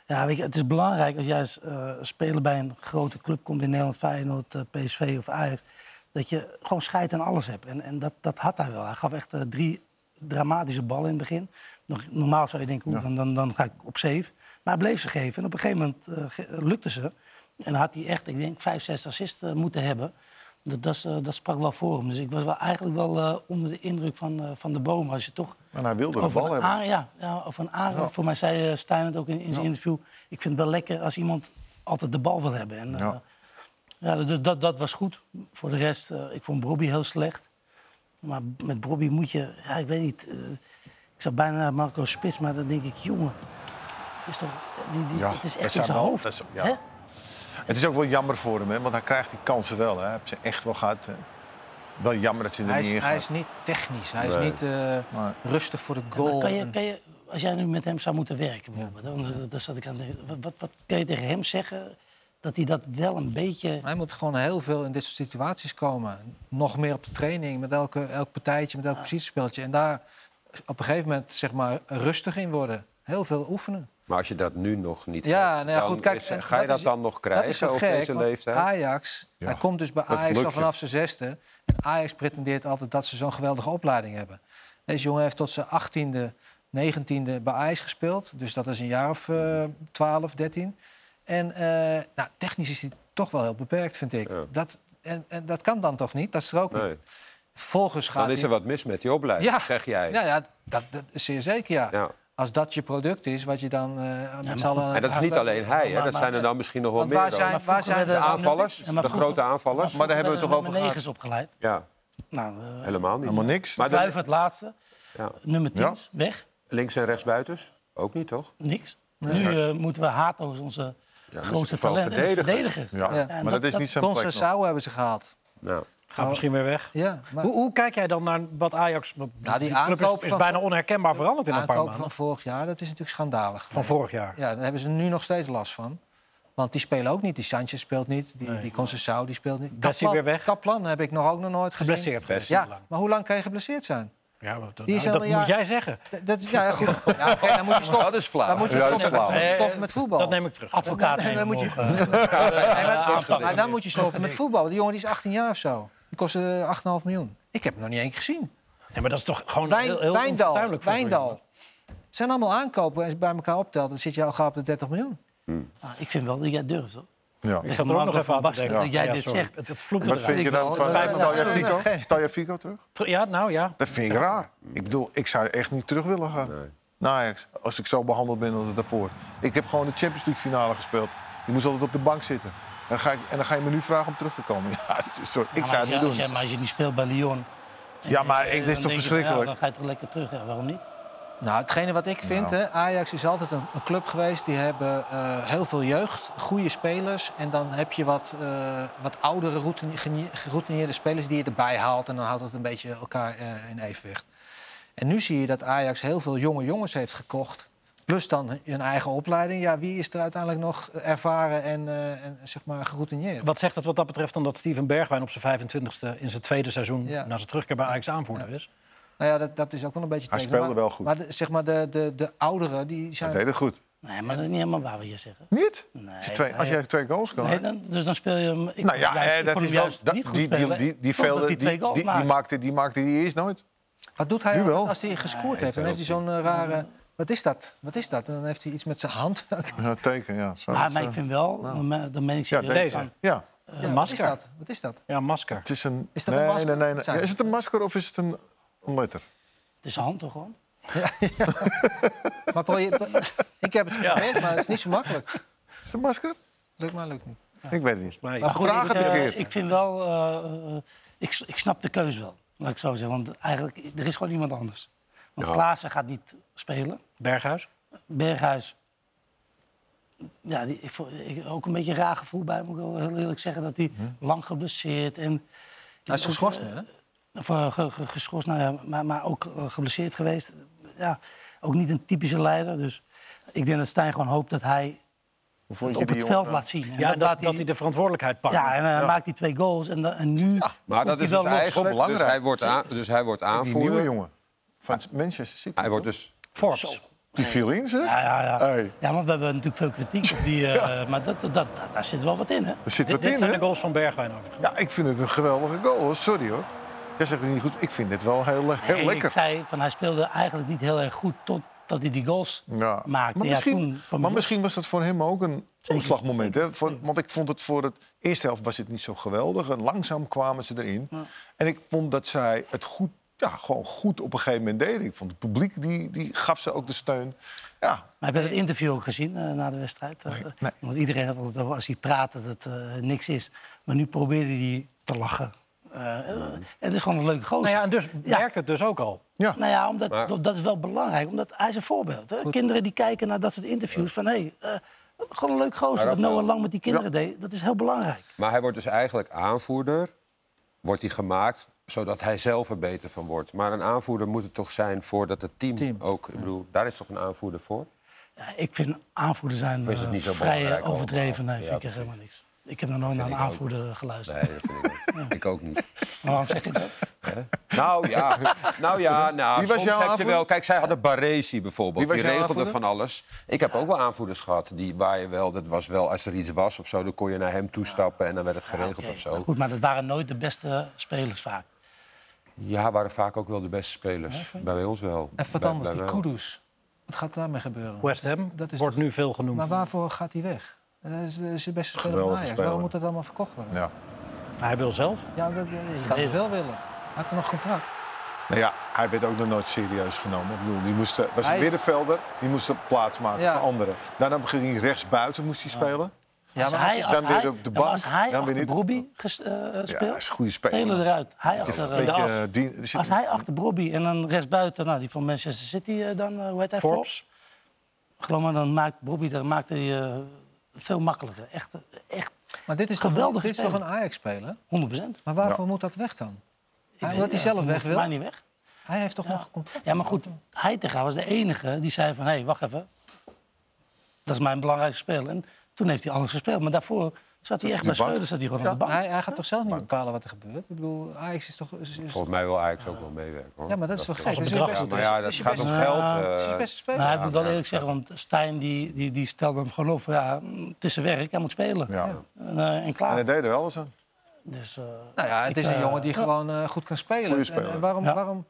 ja, weet je, het is belangrijk als jij als eh, speler bij een grote club komt in Nederland... Feyenoord, eh, PSV of Ajax, dat je gewoon scheid aan alles hebt. En, en dat, dat had hij wel. Hij gaf echt eh, drie dramatische ballen in het begin. Nog, normaal zou je denken, oeh, dan, dan, dan ga ik op zeef. Maar hij bleef ze geven. En op een gegeven moment eh, ge- lukte ze. En dan had hij echt, ik denk, vijf, zes assists eh, moeten hebben. Dat, dat, is, eh, dat sprak wel voor hem. Dus ik was wel eigenlijk wel eh, onder de indruk van, eh, van de boom. Als je toch
En hij wilde de
over
bal
een
hebben.
aan- ja, ja, of een aanraak. Voor mij zei eh, Stijn het ook in, in zijn interview. Ik vind het wel lekker als iemand altijd de bal wil hebben. En, eh,
Ja.
ja. dus dat, dat was goed. Voor de rest, eh, ik vond Bobby heel slecht. Maar met Bobby moet je, ja, ik weet niet. eh, ik zou bijna naar Marco Spits, maar dan denk ik, jongen. Het is, toch, die, die,
Ja,
het is
dat
echt in
zijn
zijn
wel-
hoofd.
dat is- ja.
hè?
Het is ook wel jammer voor hem, hè, want hij krijgt die kansen wel. Hè. Hij heeft ze echt wel gehad. hè. Wel jammer dat ze er
Hij
niet in
is,
gaat.
hij is niet technisch, hij is niet eh, rustig voor de
Maar
goal.
kan je,
En-
kan je, als jij nu met hem zou moeten werken, bijvoorbeeld, hè, want, eh, daar zat ik aan te denken, wat, wat, wat kan je tegen hem zeggen dat hij dat wel een beetje.
Hij moet gewoon heel veel in dit soort situaties komen. Nog meer op de training, met elke, elk partijtje, met elk positiespeltje. En daar op een gegeven moment zeg maar, rustig in worden. Heel veel oefenen.
Maar als je dat nu nog niet
Ja,
hebt,
nou ja,
dan
goed, kijk,
is-
en
ga je
dat
dat
is-
dan nog
dat is
krijgen
zo
op
gek,
deze
want
leeftijd?
Ajax, hij komt dus bij
dat
Ajax al
lukt je.
vanaf zijn zesde. En Ajax pretendeert altijd dat ze zo'n geweldige opleiding hebben. Deze jongen heeft tot zijn achttiende negentiende bij Ajax gespeeld. Dus dat is een jaar of eh 12, 13. En eh, nou, technisch is hij toch wel heel beperkt, vind ik.
Ja.
Dat, en, en dat kan dan toch niet? Dat strookt
Nee.
niet. Volgens gaat
Dan is er
hij-
wat mis met die opleiding,
Ja.
zeg jij.
Nou ja, dat, dat is zeer zeker, ja.
Ja.
Als dat je product is, wat je dan eh met z'n allen... aan
En dat is
het
niet alleen hij, hè?
Maar-
dat zijn er
maar-
dan misschien nog wel
Want
meer.
waar
dan.
zijn, waar
vroeger
zijn
werden
De aanvallers,
Ja, maar
de
vroeger-
grote aanvallers.
Maar daar hebben we het toch over
Nummer
gehad?
9 is opgeleid.
Ja,
Nou, eh
helemaal niet.
Helemaal niks.
Maar
Kluivert,
de,
het laatste.
Ja.
Nummer 10,
Ja.
weg.
links en rechts buitens? Ook niet, toch?
Niks. Nu eh, moeten we Hato is onze grootste
vooral
talent en is
verdedigers.
verdediger.
ja.
Ja.
dat-
maar dat, is
dat-
niet zijn plek. nog.
Concessao hebben ze gehaald.
Nou,
Gaat misschien weer weg.
Ja, maar
Hoe, hoe kijk jij dan naar wat Ajax... Want
Nou, die
die club
aankoop
is, is
van-
bijna onherkenbaar veranderd in een paar
aankoop
maanden.
van
Van,
vorig jaar, dat is natuurlijk schandalig. geweest.
vorig jaar.
Ja, daar hebben ze nu nog steeds last van. Want die spelen ook niet. Die Sanchez speelt niet. Die, die Concessao die speelt niet.
Bessie weer weg.
Kaplan heb ik nog ook nog nooit gezien.
Geblesseerd geweest.
Ja,
lang.
maar hoe lang kan je geblesseerd zijn?
Ja, maar dat,
Die is
nou,
al
dat
een
moet
jaar-
jij zeggen.
Dat, dat is- ja, goed. Ja, oké, dan
(laughs)
moet je stoppen.
dat is flauw.
Dan moet je
Ja, dat
stoppen,
is flauw.
dan moet je stoppen met voetbal.
Dat neem ik terug.
Advocaat
Nee,
nemen
dan moet
(laughs)
je-
morgen.
Nee, maar-
aanpakken.
maar dan moet je stoppen met voetbal. Die jongen die is 18 jaar of zo. Die kost eh, 8,5 miljoen. Ik heb hem nog niet één keer gezien.
Nee, maar dat is toch gewoon
Wijn,
heel, heel
Wijndal.
onfortuinlijk voor zo'n
Wijndal.
jongen.
Het zijn allemaal aankopen. Als je bij elkaar optelt, dan zit je al gauw op de 30 miljoen.
Ah, ik vind wel dat jij durft. Hoor.
Ja.
Ik zat er ook nog even aan te denken.
Dat jij
Ja,
dit
sorry.
zegt.
Het, het vloept
Wat
eruit.
vind je dan
wel.
van
Dat spijt me.
Taya Fico? Taya Fico terug?
Ja, nou ja.
Dat vind ik raar. Ik bedoel, ik zou echt niet terug willen gaan nee. naar Ajax. Als ik zo behandeld ben als het daarvoor. Ik heb gewoon de Champions League finale gespeeld. Je moest altijd op de bank zitten. En dan ga, ik, en dan ga je me nu vragen om terug te komen. (laughs) Ja, sorry,
Ja,
ik zou
maar
het
als
niet
jij-
doen.
Maar als je niet speelt bij Lyon...
Ja, maar
eh,
ik, dit
dan
is
denk
toch
je, ja,
verschrikkelijk?
dan ga je toch lekker terug. Ja, waarom niet?
Nou, hetgene wat ik vind, hè, Ajax is altijd een, een club geweest. Die hebben eh, heel veel jeugd, goede spelers. En dan heb je wat, eh, wat oudere, routine- genie- geroutineerde spelers die je erbij haalt. En dan houdt het een beetje elkaar eh, in evenwicht. En nu zie je dat Ajax heel veel jonge jongens heeft gekocht. Plus dan hun eigen opleiding. Ja, wie is er uiteindelijk nog ervaren en, eh, en zeg maar geroutineerd?
Wat zegt het wat dat betreft dan dat Steven Bergwijn op zijn 25e in zijn tweede seizoen
Ja.
na zijn terugkeer bij Ajax aanvoerder is?
Nou ja, dat, dat is ook wel een beetje
Hij
tegen.
speelde
maar,
wel goed.
Maar de, zeg maar, de, de, de ouderen, die zijn...
Dat deed het goed.
Nee, maar dat is niet helemaal waar we hier zeggen.
Niet?
Nee,
als, je twee,
nee.
als jij twee goals kan.
Nee, dan, dus dan speel je hem... Ik,
nou ja,
juist-
eh,
ik
dat
vond
is
hem
wel.
juist
dat-
niet goed
die, die,
spelen,
die, die,
totdat
velden,
die
die,
twee
die,
goals
die
maken.
maakte, die maakte die eerst nooit.
Wat doet hij
Nu wel.
als hij gescoord heeft? Dan heeft hij zo'n eh, rare... Wat is dat? Wat is dat? En dan heeft hij iets met zijn hand. (laughs)
Ja, teken, ja. Zo,
Ah, Maar,
zo.
maar ik vind wel, dan me- dan meen ik
Ja,
serieus
deze.
van,
Ja,
Ja, wat is
masker.
dat? Wat is dat?
Ja, masker.
het is een...
Is dat
nee,
een masker?
Nee, nee, nee.
Zijn-
Ja, is het een masker of is het een, een letter?
het is hand toch gewoon?
Maar probeer-
(laughs)
ik heb het geprobeerd, maar het is niet zo makkelijk.
Is het een masker?
Lukt maar, lukt niet.
Ik weet het niet.
Nee.
Maar vraag het een
eh,
keer.
ik vind wel, eh, eh, ik, s- ik snap de keus wel, laat ik zo zeggen. Want eigenlijk, er is gewoon iemand anders. Want Klaassen gaat niet spelen.
Berghuis.
Berghuis, ja, die, ik, vond- ik- ook een beetje een raar gevoel bij, moet ik wel heel eerlijk zeggen. Dat hij lang geblesseerd en
Hij is geschorst nu, hè?
of, eh, ge- ge- geschorst, nou ja, maar, maar ook eh, geblesseerd geweest. Ja, ook niet een typische leider. Dus ik denk dat Stijn gewoon hoopt dat hij
Hoe vond
het
je
op
die
het
jongen?
veld laat zien. En
Ja,
dat
en dat,
laat
dat hij de verantwoordelijkheid pakt.
Ja, en hij maakt die twee goals. En, da- en nu
Ah,
maar
komt
dat
hij
is
wel
dus
los.
eigenlijk... Dus
belangrijk.
hij wordt, aan, dus hij wordt
Die nieuwe
aanvoerder.
jongen. Van Manchester City.
Hij wordt dus...
Forbes.
Die viel in, zeg.
Ja, ja, ja.
Hey.
ja, want we hebben natuurlijk veel kritiek op
(laughs)
die... eh, Maar dat, dat, dat, daar zit wel wat in, hè?
Er zit
Dit,
wat
dit
in,
zijn de
hè?
goals van Bergwijn overigens.
Ja, ik vind het een geweldige goal, hoor. sorry hoor. Jij zegt het niet goed. Ik vind dit wel heel, heel
En Ik
lekker.
zei van, hij speelde eigenlijk niet heel erg goed totdat hij die goals
Ja.
maakte.
Maar,
Ja, toen
misschien,
kwam hij
maar
los.
misschien was dat voor hem ook een omslagmoment. Hè? Voor- want ik vond het voor het eerste helft was het niet zo geweldig. En langzaam kwamen ze erin. En ik vond dat zij het goed, ja, gewoon goed op een gegeven moment deden. Ik vond het publiek, die, die gaf ze ook de steun. Ja,
Maar heb je dat interview ook gezien eh, na de wedstrijd? Eh,
nee.
Want iedereen had altijd over als hij praat dat het eh, niks is. Maar nu probeerde hij te lachen. Eh, eh, en het is gewoon een leuke gozer.
Nou ja, en dus werkt het dus ook al.
ja.
Nou ja, omdat, dat is wel belangrijk. Omdat hij is een voorbeeld. Hè? Kinderen die kijken naar dat soort interviews. Van, hé, hey, eh, gewoon een leuk gozer. Wat Noah Lang met die kinderen deed. Dat is heel belangrijk.
Maar hij wordt dus eigenlijk aanvoerder. Wordt hij gemaakt zodat hij zelf er beter van wordt. Maar een aanvoerder moet het toch zijn voordat het team, ook... Ik bedoel, daar is toch een aanvoerder voor?
Ja, ik vind aanvoerder zijn
Of is het
eh,
niet zo
vrij
belangrijk
eh, overdreven.
allemaal?
Nee,
Ja,
vind ik echt helemaal niks. Ik heb nog nooit naar een
ik ook.
aanvoerder eh, geluisterd.
Nee, dat vind ik niet. Ik ook niet.
Maar waarom zeg je dat?
Nou ja, nou ja, nou,
Wie was
soms
jouw
heb je
aanvoerder?
wel... Kijk, zij hadden Baresi
Wie
bijvoorbeeld.
was
Die
jouw
regelde
aanvoerder?
van alles. Ik heb ook wel aanvoerders gehad die, waar je wel... Dat was wel, als er iets was of zo, dan kon je naar hem toestappen... en dan werd het geregeld
Oké,
of zo.
maar Goed, maar dat waren nooit de beste spelers vaak.
Ja, waren vaak ook wel de beste spelers. bij ons wel.
En wat
Bij-
anders,
bij
die
wel.
Kudus. Wat gaat daarmee gebeuren?
West Ham
Dat is
wordt nu veel genoemd.
Maar waarvoor gaat hij weg? Dat is, dat is de beste speler van
Geweldige
Ajax.
speler.
Waarom moet dat allemaal verkocht worden? Ja,
Ja.
Hij wil zelf.
dat, je kan het wel willen. Hij Had er nog contract?
Nou ja, hij werd ook nog nooit serieus genomen. Ik bedoel, die moest, was
Hij-
een middenvelder, die moest plaats maken
Ja.
voor anderen. Daarna ging hij rechtsbuiten moest hij spelen.
Ja,
Als
maar
hij,
is
als
dan
hij,
weer op
ja,
de
maar
bank,
als hij
dan weer
achter
niet.
Brobbey ges- eh,
Ja, dat
speelt,
is een goede
spelen
speler.
eruit. Hij achter eh, de as.
eh, die- er zit-
Als hij achter Brobbey en dan rechtsbuiten, nou, die van Manchester City, eh, dan, eh, hoe heet hij?
Forbes.
Ik Geloof me, dan maakt Brobbey dan maakt hij, eh, veel makkelijker. Echt, eh, echt
Maar dit is, toch, wel-
Geweldige
dit is toch een
speler.
Ajax-speler?
100 procent.
Maar waarvoor moet dat weg dan? Hij, omdat hij zelf weg
Maar
wil?
niet weg.
Hij heeft toch nog contract?
Ja, maar goed, Heitinga was de enige die zei van... hé, hey, wacht even, dat is mijn belangrijkste speler. En toen heeft hij alles gespeeld. Maar daarvoor zat hij echt bij
bank.
Schreuder, zat hij gewoon
Ja,
aan de bank.
hij, hij gaat toch zelf niet bepalen wat er gebeurt? Ik bedoel, Ajax is toch... Is, is-
Volgens mij wil Ajax ook wel meewerken. Hoor.
ja, maar dat is wel gek.
het
Dat is
bedrag goed
Ja, maar ja, dat
je beste- dat is je
gaat om
beste-
geld.
dat is je
eh,
beste speler.
Maar Nou, ik moet wel eerlijk zeggen, want Stijn die, die, die stelde hem gewoon op. van, Ja, het is zijn werk, hij moet spelen.
Ja.
En, eh, en
En
klaar.
hij deed er alles aan.
Dus, eh,
Nou ja, het is
Ik,
een
eh,
jongen die gewoon eh, goed kan spelen.
Goeie
En- En,
speler.
waarom,
Ja.
waarom...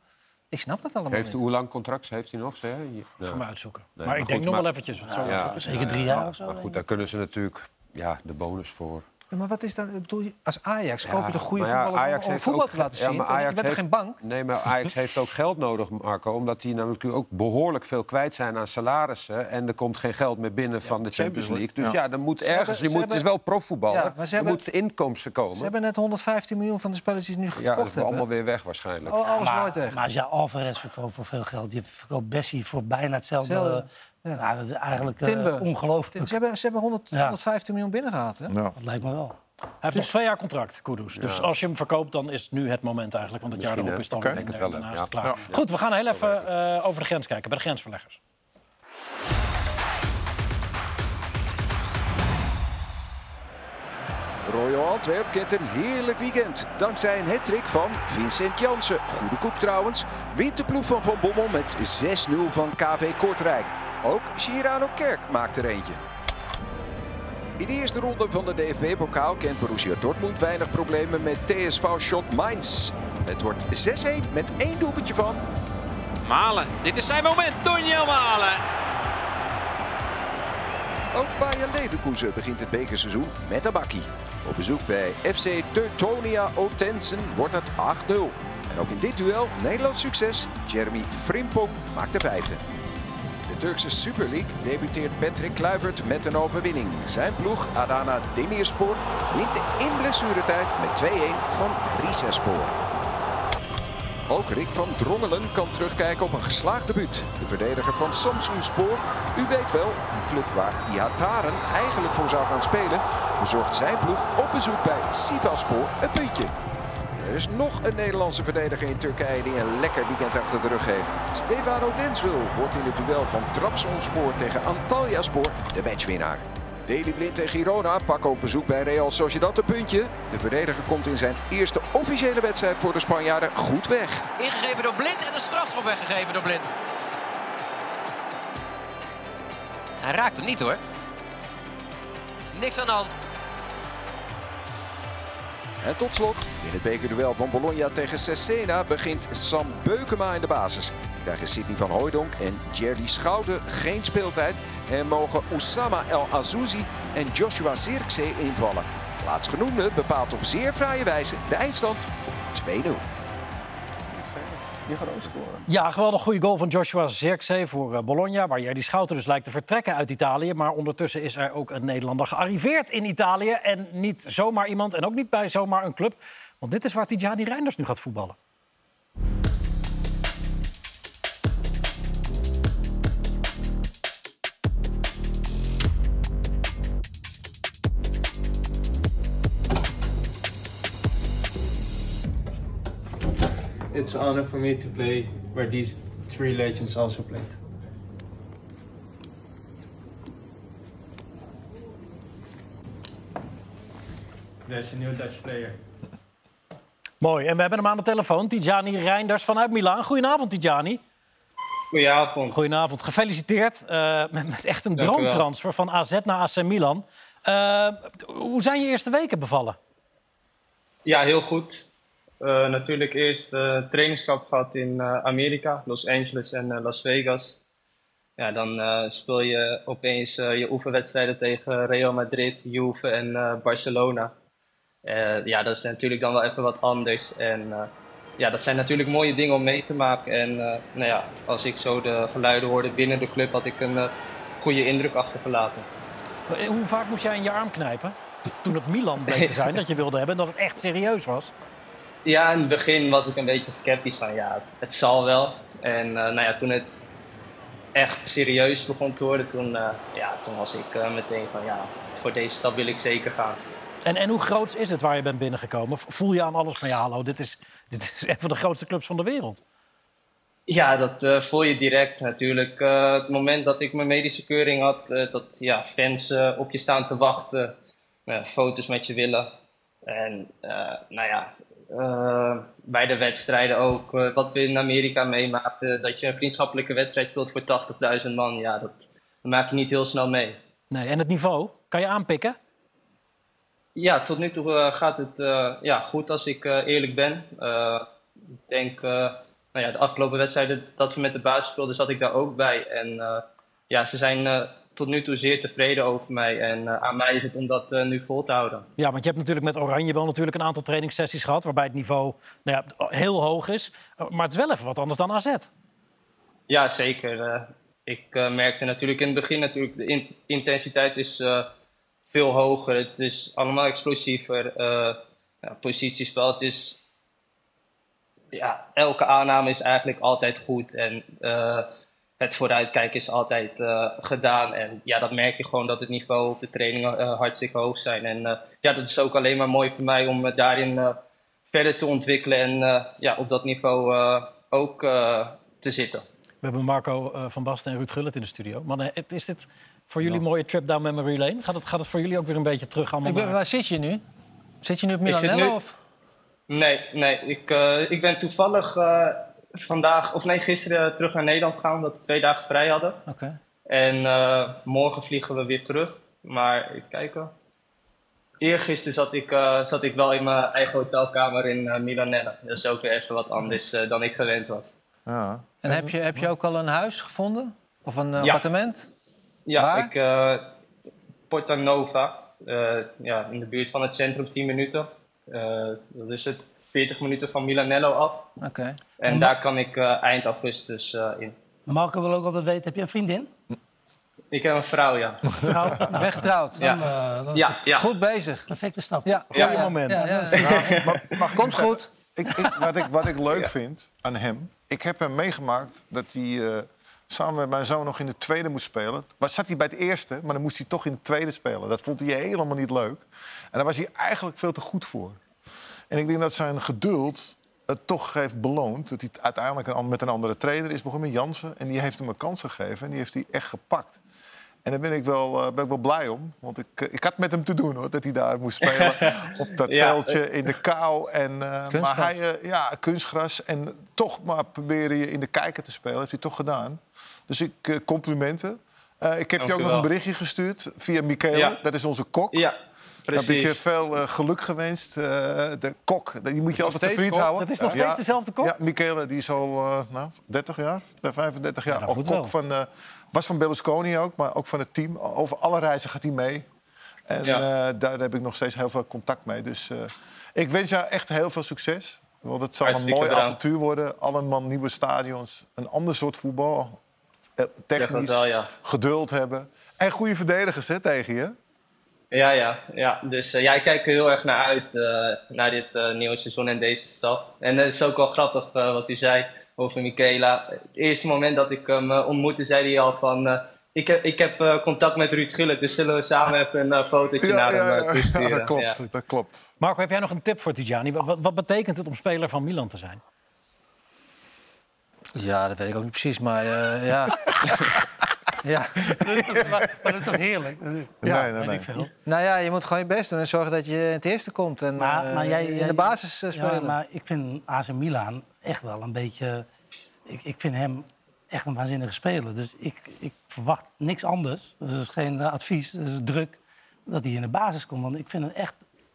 Ik snap dat allemaal
Heeft,
niet.
hoe lang contract heeft hij nog? Zeg? je? Ja.
Ga maar uitzoeken. maar,
maar
ik
goed,
denk nog
maar-
wel eventjes. want zo-
Ja.
zeker drie jaar of zo.
Maar
denk
goed,
ik.
daar kunnen ze natuurlijk ja, de bonus voor.
Ja, maar wat is dan... ik Bedoel, als Ajax koop je
Ja,
toch goede
maar ja,
voetballers om- om,
heeft
voetbal
ook-
te laten
ja,
zien?
maar
En je
Ajax
bent toch
heeft-
geen bank?
Nee, maar Ajax heeft ook geld nodig, Marco. Omdat die namelijk ook behoorlijk veel kwijt zijn aan salarissen. En er komt geen geld meer binnen van de Champions League. Dus ja, dan moet
hebben-
ergens... Je
ze
moet, het is
hebben-
wel profvoetballer.
Ja, maar ze
er
hebben-
moeten inkomsten
Ze
komen.
hebben net 115 miljoen van de spelers die ze nu
Ja, dat
gekocht
is allemaal
hebben.
weer weg waarschijnlijk.
Oh, alles
maar,
nooit echt.
maar als je Alvarez verkoopt voor veel geld, je verkoopt Bessie voor bijna hetzelfde.
Hetzelfde,
eh,
ja.
nou, dat is eigenlijk eh,
Timber.
ongelooflijk.
Ze hebben, ze hebben 100,
Ja.
115 miljoen binnengehaald, hè?
Nou,
Ja.
Dat lijkt me wel.
Hij heeft nog twee jaar contract, Kudus. Dus als je hem verkoopt, dan is nu het moment eigenlijk. Want het jaar
Misschien,
erop
hè?
is dan
Oké.
en,
Ik denk het
eh,
wel,
daarna
ja.
is het klaar. Goed, we gaan heel even eh, over de grens kijken, bij de grensverleggers.
Royal Antwerp kent een heerlijk weekend. Dankzij een hat-trick van Vincent Jansen. Goede koep trouwens. Wint de ploeg van Van Bommel met 6-0 van KV Kortrijk. Ook Girano Kerk maakt er eentje. In de eerste ronde van de DFB-pokaal kent Borussia Dortmund weinig problemen met TSV Schot Mainz. Het wordt 6-1 met één doelpuntje van
Malen, dit is zijn moment. Daniel Malen.
Ook Bayer Leverkusen begint het bekerseizoen met een bakkie. Op bezoek bij FC Teutonia Otensen wordt het 8-0. En ook in dit duel Nederlands succes. Jeremy Frimpong maakt de vijfde. De Turkse Super League debuteert Patrick Kluivert met een overwinning. Zijn ploeg Adana Demirspor wint in blessuretijd met 2-1 van Rizespor. Ook Rick van Drongelen kan terugkijken op een geslaagd debuut. De verdediger van Samsunspor, u weet wel, die club waar Ihataren eigenlijk voor zou gaan spelen, bezorgt zijn ploeg op bezoek bij Sivaspor een puntje. En Er is nog een Nederlandse verdediger in Turkije die een lekker weekend achter de rug heeft. Stefano Denswil wordt in het duel van Trabzonspor tegen Antalyaspor de matchwinnaar. Deli Blind en Girona pakken op bezoek bij Real Sociedad een puntje. De verdediger komt in zijn eerste officiële wedstrijd voor de Spanjaarden goed weg.
Ingegeven door Blind en een strafschop weggegeven door Blind. Hij raakt hem niet hoor. Niks aan de hand.
En tot slot, in het bekerduel van Bologna tegen Cesena begint Sam Beukema in de basis. Krijgen Sidney van Hooijdonk en Jerry Schouten geen speeltijd en mogen Oussama El Azouzi en Joshua Zirkzee invallen. Laatstgenoemde bepaalt op zeer fraaie wijze de eindstand op 2-0.
Je gaat ook scoren.
Ja, geweldig goede goal van Joshua Zirkzee voor eh, Bologna. Waar jij die schouder dus lijkt te vertrekken uit Italië. Maar ondertussen is er ook een Nederlander gearriveerd in Italië. En niet zomaar iemand en ook niet bij zomaar een club. Want dit is waar Tijani Reinders nu gaat voetballen.
it's an honor for me to play where these three legends also played. There's a new Dutch player.
Mooi. En we hebben hem aan de telefoon. Tijani Reinders vanuit Milaan. Goedenavond, Tijani.
Goedenavond.
Goedenavond. Gefeliciteerd eh, met, met echt een
Dank u wel.
droomtransfer van AZ naar AC Milan. Eh, hoe zijn je eerste weken bevallen?
Ja, heel goed.
Eh, natuurlijk eerst eh trainingskamp gehad in eh, Amerika, Los Angeles en eh, Las Vegas. Ja, dan eh, speel je opeens eh, je oefenwedstrijden tegen Real Madrid, Juve en eh, Barcelona. Eh, ja, dat is natuurlijk dan wel even wat anders. En eh, ja, dat zijn natuurlijk mooie dingen om mee te maken. En eh, nou ja, als ik zo de geluiden hoorde binnen de club, had ik een eh, goede indruk achtergelaten.
Eh, Hoe vaak moest jij in je arm knijpen? Toen het Milan bleek te (laughs) zijn dat je wilde hebben en dat het echt serieus was.
Ja, in het begin was ik een beetje sceptisch van ja, het, het zal wel. En eh, nou ja, toen het echt serieus begon te worden, toen, eh, ja, toen was ik eh, meteen van ja, voor deze stap wil ik zeker gaan.
En, en hoe groot is het waar je bent binnengekomen? Voel je aan alles van ja, hallo, dit is, (laughs) dit is een van de grootste clubs van de wereld.
Ja, dat eh, voel je direct natuurlijk. Eh, het moment dat ik mijn medische keuring had, eh, dat ja, fans eh, op je staan te wachten, eh, foto's met je willen. En eh, nou ja, eh, bij de wedstrijden ook, eh, wat we in Amerika meemaakten, dat je een vriendschappelijke wedstrijd speelt voor 80.000 man, ja, dat maak je niet heel snel mee.
Nee, en het niveau, kan je aanpikken?
Ja, tot nu toe eh, gaat het eh, ja, goed als ik eh, eerlijk ben. Eh, ik denk, eh, nou ja, de afgelopen wedstrijden dat we met de basis speelden, zat ik daar ook bij. En eh, ja, ze zijn eh, tot nu toe zeer tevreden over mij. En eh, aan mij is het om dat eh, nu vol te houden.
Ja, want je hebt natuurlijk met Oranje wel natuurlijk een aantal trainingssessies gehad... waarbij het niveau nou ja, heel hoog is. Eh, Maar het is wel even wat anders dan AZ.
Ja, zeker. Eh, ik eh, merkte natuurlijk in het begin natuurlijk, de int- intensiteit is eh, veel hoger. Het is allemaal explosiever. eh ja, positiespel, het is... Ja, elke aanname is eigenlijk altijd goed. En eh, het vooruitkijken is altijd eh, gedaan. En ja, dat merk je gewoon dat het niveau op de trainingen eh, hartstikke hoog zijn. En eh, ja, dat is ook alleen maar mooi voor mij om me daarin eh, verder te ontwikkelen. En eh, ja, op dat niveau eh, ook eh, te zitten.
We hebben Marco eh, van Basten en Ruud Gullit in de studio. Mannen, het- is dit voor jullie een mooie trip down memory lane? Gaat het, gaat het voor jullie ook weer een beetje terug allemaal
Ik ben-
naar-
waar zit je nu? Zit je nu op
Ik zit
Milanello?
nu-
of?
Nee, nee. Ik, eh, ik ben toevallig eh, vandaag, of nee, gisteren terug naar Nederland gegaan, omdat we twee dagen vrij hadden.
Oké.
En eh, morgen vliegen we weer terug. Maar even kijken. Eergisteren zat ik, eh, zat ik wel in mijn eigen hotelkamer in eh, Milanella. Dat is ook weer even wat anders eh, dan ik gewend was.
Ja.
En heb je, heb je ook al een huis gevonden? Of een eh,
Ja.
appartement?
Ja,
Waar?
ik eh Porta Nova. eh, ja, in de buurt van het centrum 10 minuten. Eh, dat is het 40 minuten van Milanello af.
Oké.
En daar kan ik eh, eind augustus eh, in.
Marco wil ook altijd weten, heb je een vriendin?
Ik heb een vrouw, ja.
Vrouw?
Nou, ben getrouwd.
Dan,
Ja.
eh, dan is
Ja,
het
ja.
Goed bezig.
Perfecte stap.
Ja.
Goeie moment.
Ja, ja.
Mag ik
Komt goed.
Ik, ik, wat, ik, wat ik leuk vind aan hem, ik heb hem meegemaakt dat hij eh, samen met mijn zoon nog in de tweede moest spelen. Maar zat hij bij het eerste, maar dan moest hij toch in de tweede spelen. Dat vond hij helemaal niet leuk. En daar was hij eigenlijk veel te goed voor. En ik denk dat zijn geduld het toch heeft beloond. Dat hij uiteindelijk een an- met een andere trainer is begonnen, met Jansen. En die heeft hem een kans gegeven en die heeft hij echt gepakt. En daar ben ik wel, eh, ben ik wel blij om. Want ik, eh, ik had met hem te doen hoor, dat hij daar
(laughs)
moest spelen. op dat
Ja.
veldje in de kou. En, eh, maar
Kunstgras.
hij, eh, ja, kunstgras. En toch maar proberen je in de kijker te spelen. heeft hij toch gedaan. Dus ik eh, complimenten. Eh, ik heb je
Dank
ook
u
nog
wel.
een berichtje gestuurd via Michele.
Ja.
Dat is onze kok.
Ja,
Dan heb ik je
precies.
veel eh, geluk gewenst. Eh, de kok, die moet je altijd
steeds
tevreden
kok?
houden.
Dat is nog steeds dezelfde kok?
Ja, Michele, die is al eh, nou, 30 jaar, 35 jaar.
dat
al
moet
kok
wel.
van, eh, was van Berlusconi ook, maar ook van het team. Over alle reizen gaat hij mee. En
Ja.
eh, daar heb ik nog steeds heel veel contact mee. Dus eh, ik wens jou echt heel veel succes. Want het zal een
Hartstikke
mooi
bedankt.
avontuur worden. Allemaal nieuwe stadions. Een ander soort voetbal. Eh,
dat
Technisch.
wel, ja.
Geduld hebben. En goede verdedigers hè, tegen je.
Ja, ja, ja. Dus eh, ja, ik kijk er heel erg naar uit, eh, naar dit eh, nieuwe seizoen en deze stap. En het is ook wel grappig eh, wat u zei over Michaela. Het eerste moment dat ik hem eh, ontmoette, zei hij al van... eh, ik heb, ik heb eh, contact met Ruud Gullit, dus zullen we samen even een eh, fotootje naar hem eh, toesturen.
dat klopt.
Ja.
Dat klopt.
Marco, heb jij nog een tip voor Tijani? Wat, wat- wat betekent het om speler van Milan te zijn?
Ja, dat weet ik ook niet precies, maar eh, ja. ja.
maar, maar dat is toch heerlijk?
nee, nee,
Weet
nee.
ik veel.
Nou ja, je moet gewoon je best doen en zorgen dat je in het eerste komt. En
Maar,
eh,
maar jij,
in
jij-
de basis eh, spelen.
Ja, maar ik vind AC Milan echt wel een beetje... Ik, ik vind hem echt een waanzinnige speler. Dus ik, ik verwacht niks anders. Dat is geen eh, advies, dat is druk. Dat hij in de basis komt. Want ik vind hem echt,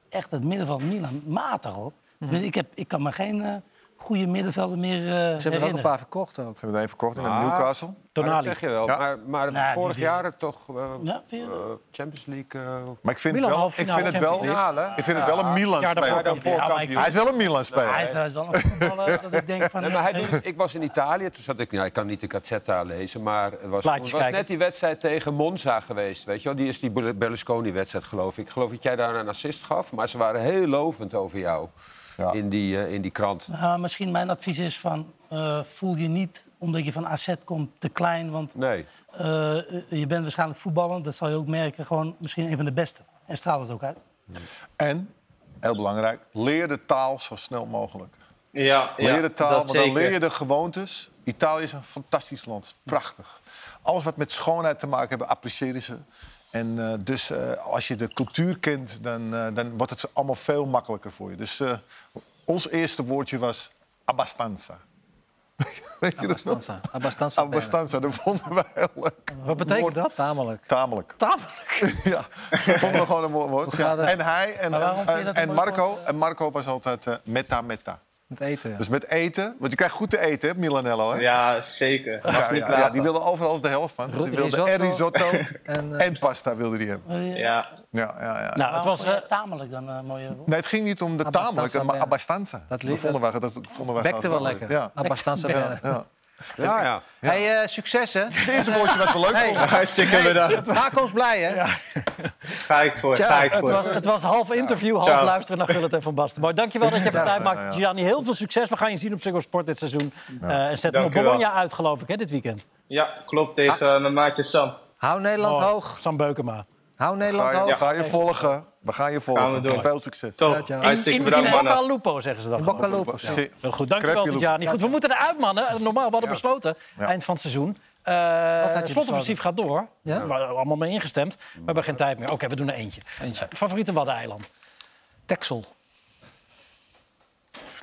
echt het midden van Milan matig op.
Mhm.
Dus ik, heb, ik kan me geen eh, goede middenvelden meer eh
Ze hebben er ook een paar verkocht ook.
Ze hebben er één verkocht
Ah, Maar dat zeg je wel.
Ja.
Maar, maar
Nou,
vorig
die-
jaar toch eh,
Ja, vind je dat?
eh, Champions League. eh,
Maar ik vind,
Milan
wel, ik
halffinale,
vind het wel,
Champions
ik vind het wel een Milan
Ja, daarvoor
speler.
kampioen. Ja, maar ik vind-
Hij is wel een Milan speler.
Hij is, hij is
(laughs)
wel een voetballer dat ik denk van...
Eh,
eh,
Nee, maar hij doet- ik was in Italië, toen zat ik, nou, ik kan niet de Gazzetta lezen, maar het was,
Plaatjes
het was
kijken.
net die wedstrijd tegen Monza geweest, weet je wel? Die is die Berl- Berlusconi-wedstrijd, geloof ik. Ik geloof dat jij daar een assist gaf, maar ze waren heel lovend over jou in, die, eh, in die krant.
Nou, misschien mijn advies is van... eh, voel je niet, omdat je van AZ komt, te klein. Want
Nee.
eh, je bent waarschijnlijk voetballer. Dat zal je ook merken. Gewoon misschien een van de beste. En straalt het ook uit.
En, heel belangrijk, leer de taal zo snel mogelijk.
Ja, ja,
Leer de taal,
dat
want dan
zeker.
leer je de gewoontes. Italië is een fantastisch land, prachtig. Alles wat met schoonheid te maken heeft, appreciëren ze. En eh, dus eh, als je de cultuur kent, dan, eh, dan wordt het allemaal veel makkelijker voor je. Dus eh, ons eerste woordje was abastanza. Weet je dat nog?
Abastanza. Abastanza.
Abastanza, dat vonden wij heel leuk.
Wat betekent dat?
Nou,
Tamelijk.
Tamelijk.
Tamelijk.
(laughs) Ja, vonden we gewoon een mooi woord.
gaat
Ja.
het?
En hij en,
Maar waarom vind je dat
en,
een
en
mooi
Marco.
woord?
En Marco was altijd eh, meta meta.
Met eten. ja.
Dus met eten, want je krijgt goed te eten, hè, Milanello. Hè?
Ja, zeker. Mag
Ja,
niet
ja, ja,
klagen.
die wilde overal de helft van. Die wilde en risotto
risotto. En, eh,
en pasta wilde die hebben.
Eh,
Ja,
Ja, ja, ja.
Nou, het
waarom
was,
vond je
eh,
tamelijk dan een mooie woord?
Nee, het ging niet om de
Abastanza
tamelijke, maar
bene.
abastanza.
Dat
Dat,
li-
vonden wij, dat vonden wij
Bekte wel
gewoon
lekker.
Ja.
Abastanza. bene.
Ja.
Ja, ja.
Hey, eh, succes hè.
Het eerste woordje wat we leuk
Hey.
vonden.
(laughs) hartstikke bedankt.
Maak ons blij hè.
Ga ik voor,
Ciao,
ga ik
Het was,
voor.
het was half interview, half
Ciao.
luisteren naar Gullit en Van Basten. Mooi, dankjewel dat je even
Ja.
tijd
Ja, ja.
maakt. Gianni, heel veel succes. We gaan je zien op Ziggo Sport dit seizoen. Eh, en zet hem op
Dank u wel.
Bologna uit, geloof ik, hè, dit weekend.
Ja, klopt, tegen
Ah.
eh, mijn maatje Sam.
Hou Nederland
Mooi.
hoog.
Sam Beukema.
Hou
Ga
Nederland
je,
hoog.
ga je volgen. We gaan je volgen.
Gaan we doen.
Veel succes.
Toch,
ciao.
In,
hartstikke
in,
bedankt,
in Bocca
mannen.
al Lupo, zeggen ze dat.
In
geloof ik.
Bokka lopen.
Zie-
Heel goed, dankjewel
Crepje
Tijani. Goed, we moeten eruit, mannen. Eh, Normaal, we hadden besloten, eind van het seizoen. Eh
had je
slotoffensief gaat door.
Ja?
We hadden allemaal mee ingestemd. We hebben geen tijd meer. Oké, we doen er eentje.
Eentje.
Eh, favoriete Waddeneiland?
Texel.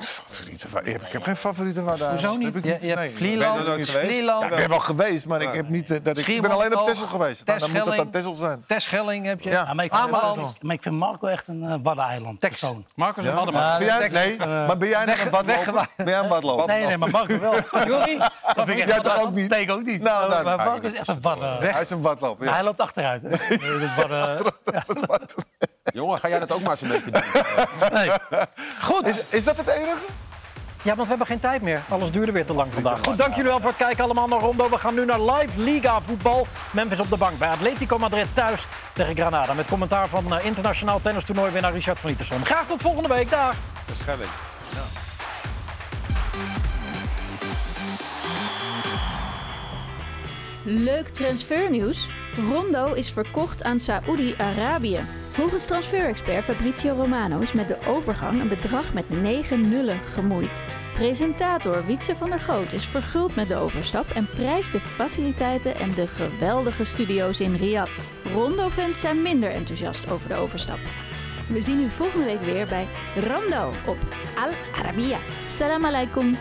Favoriete wa- Ik heb geen favoriete waar daar.
Hoezo niet?
Heb ik
Je, je
Nee.
hebt Vlieland.
Ben je er nooit geweest?
Vlieland.
Ja, ik ben wel geweest, maar ik, heb niet, eh, dat ik, ik ben alleen op
Schiermonnikoog,
Texel geweest. Nou, dan moet het dan
Terschelling.
Texel zijn.
Terschelling heb je.
Ja.
Ja, maar, ik
Ameland.
vind, maar ik vind Marco echt een eh, waddeneiland
Tex.
persoon.
Marcus en Waddenma.
Ben jij, nee, maar ben jij nog een badloper? Ben jij een badloper?
eh, Nee, nee, maar Marco wel.
(laughs)
Jorie,
Dat vind ik
jij
echt
toch ook
waddeneiland.
niet?
Nee, ik ook niet.
Nou, nou,
maar
nou,
Marco is echt een wadden...
Hij is een badloper, ja.
Hij loopt achteruit. hè. Nee, dat
(laughs)
wadden-
Jongen, ga jij dat ook maar eens een beetje doen?
Is, is dat het enige?
Ja, want we hebben geen tijd meer. Alles duurde weer te lang vandaag. Goed, dank jullie wel voor het kijken allemaal naar Rondo. We gaan nu naar live Liga voetbal. Memphis op de bank bij Atletico Madrid thuis tegen Granada. Met commentaar van eh, internationaal tennistoernooiwinnaar Richard van Iterson. Graag tot volgende week. Dag!
Schelling.
Leuk transfernieuws. Rondo is verkocht aan Saoedi-Arabië. Volgens transferexpert Fabrizio Romano is met de overgang een bedrag met 9 nullen gemoeid. Presentator Wietse van der Goot is verguld met de overstap en prijst de faciliteiten en de geweldige studio's in Riyadh. Rondo-fans zijn minder enthousiast over de overstap. We zien u volgende week weer bij Rondo op Al Arabiya. Salam alaikum.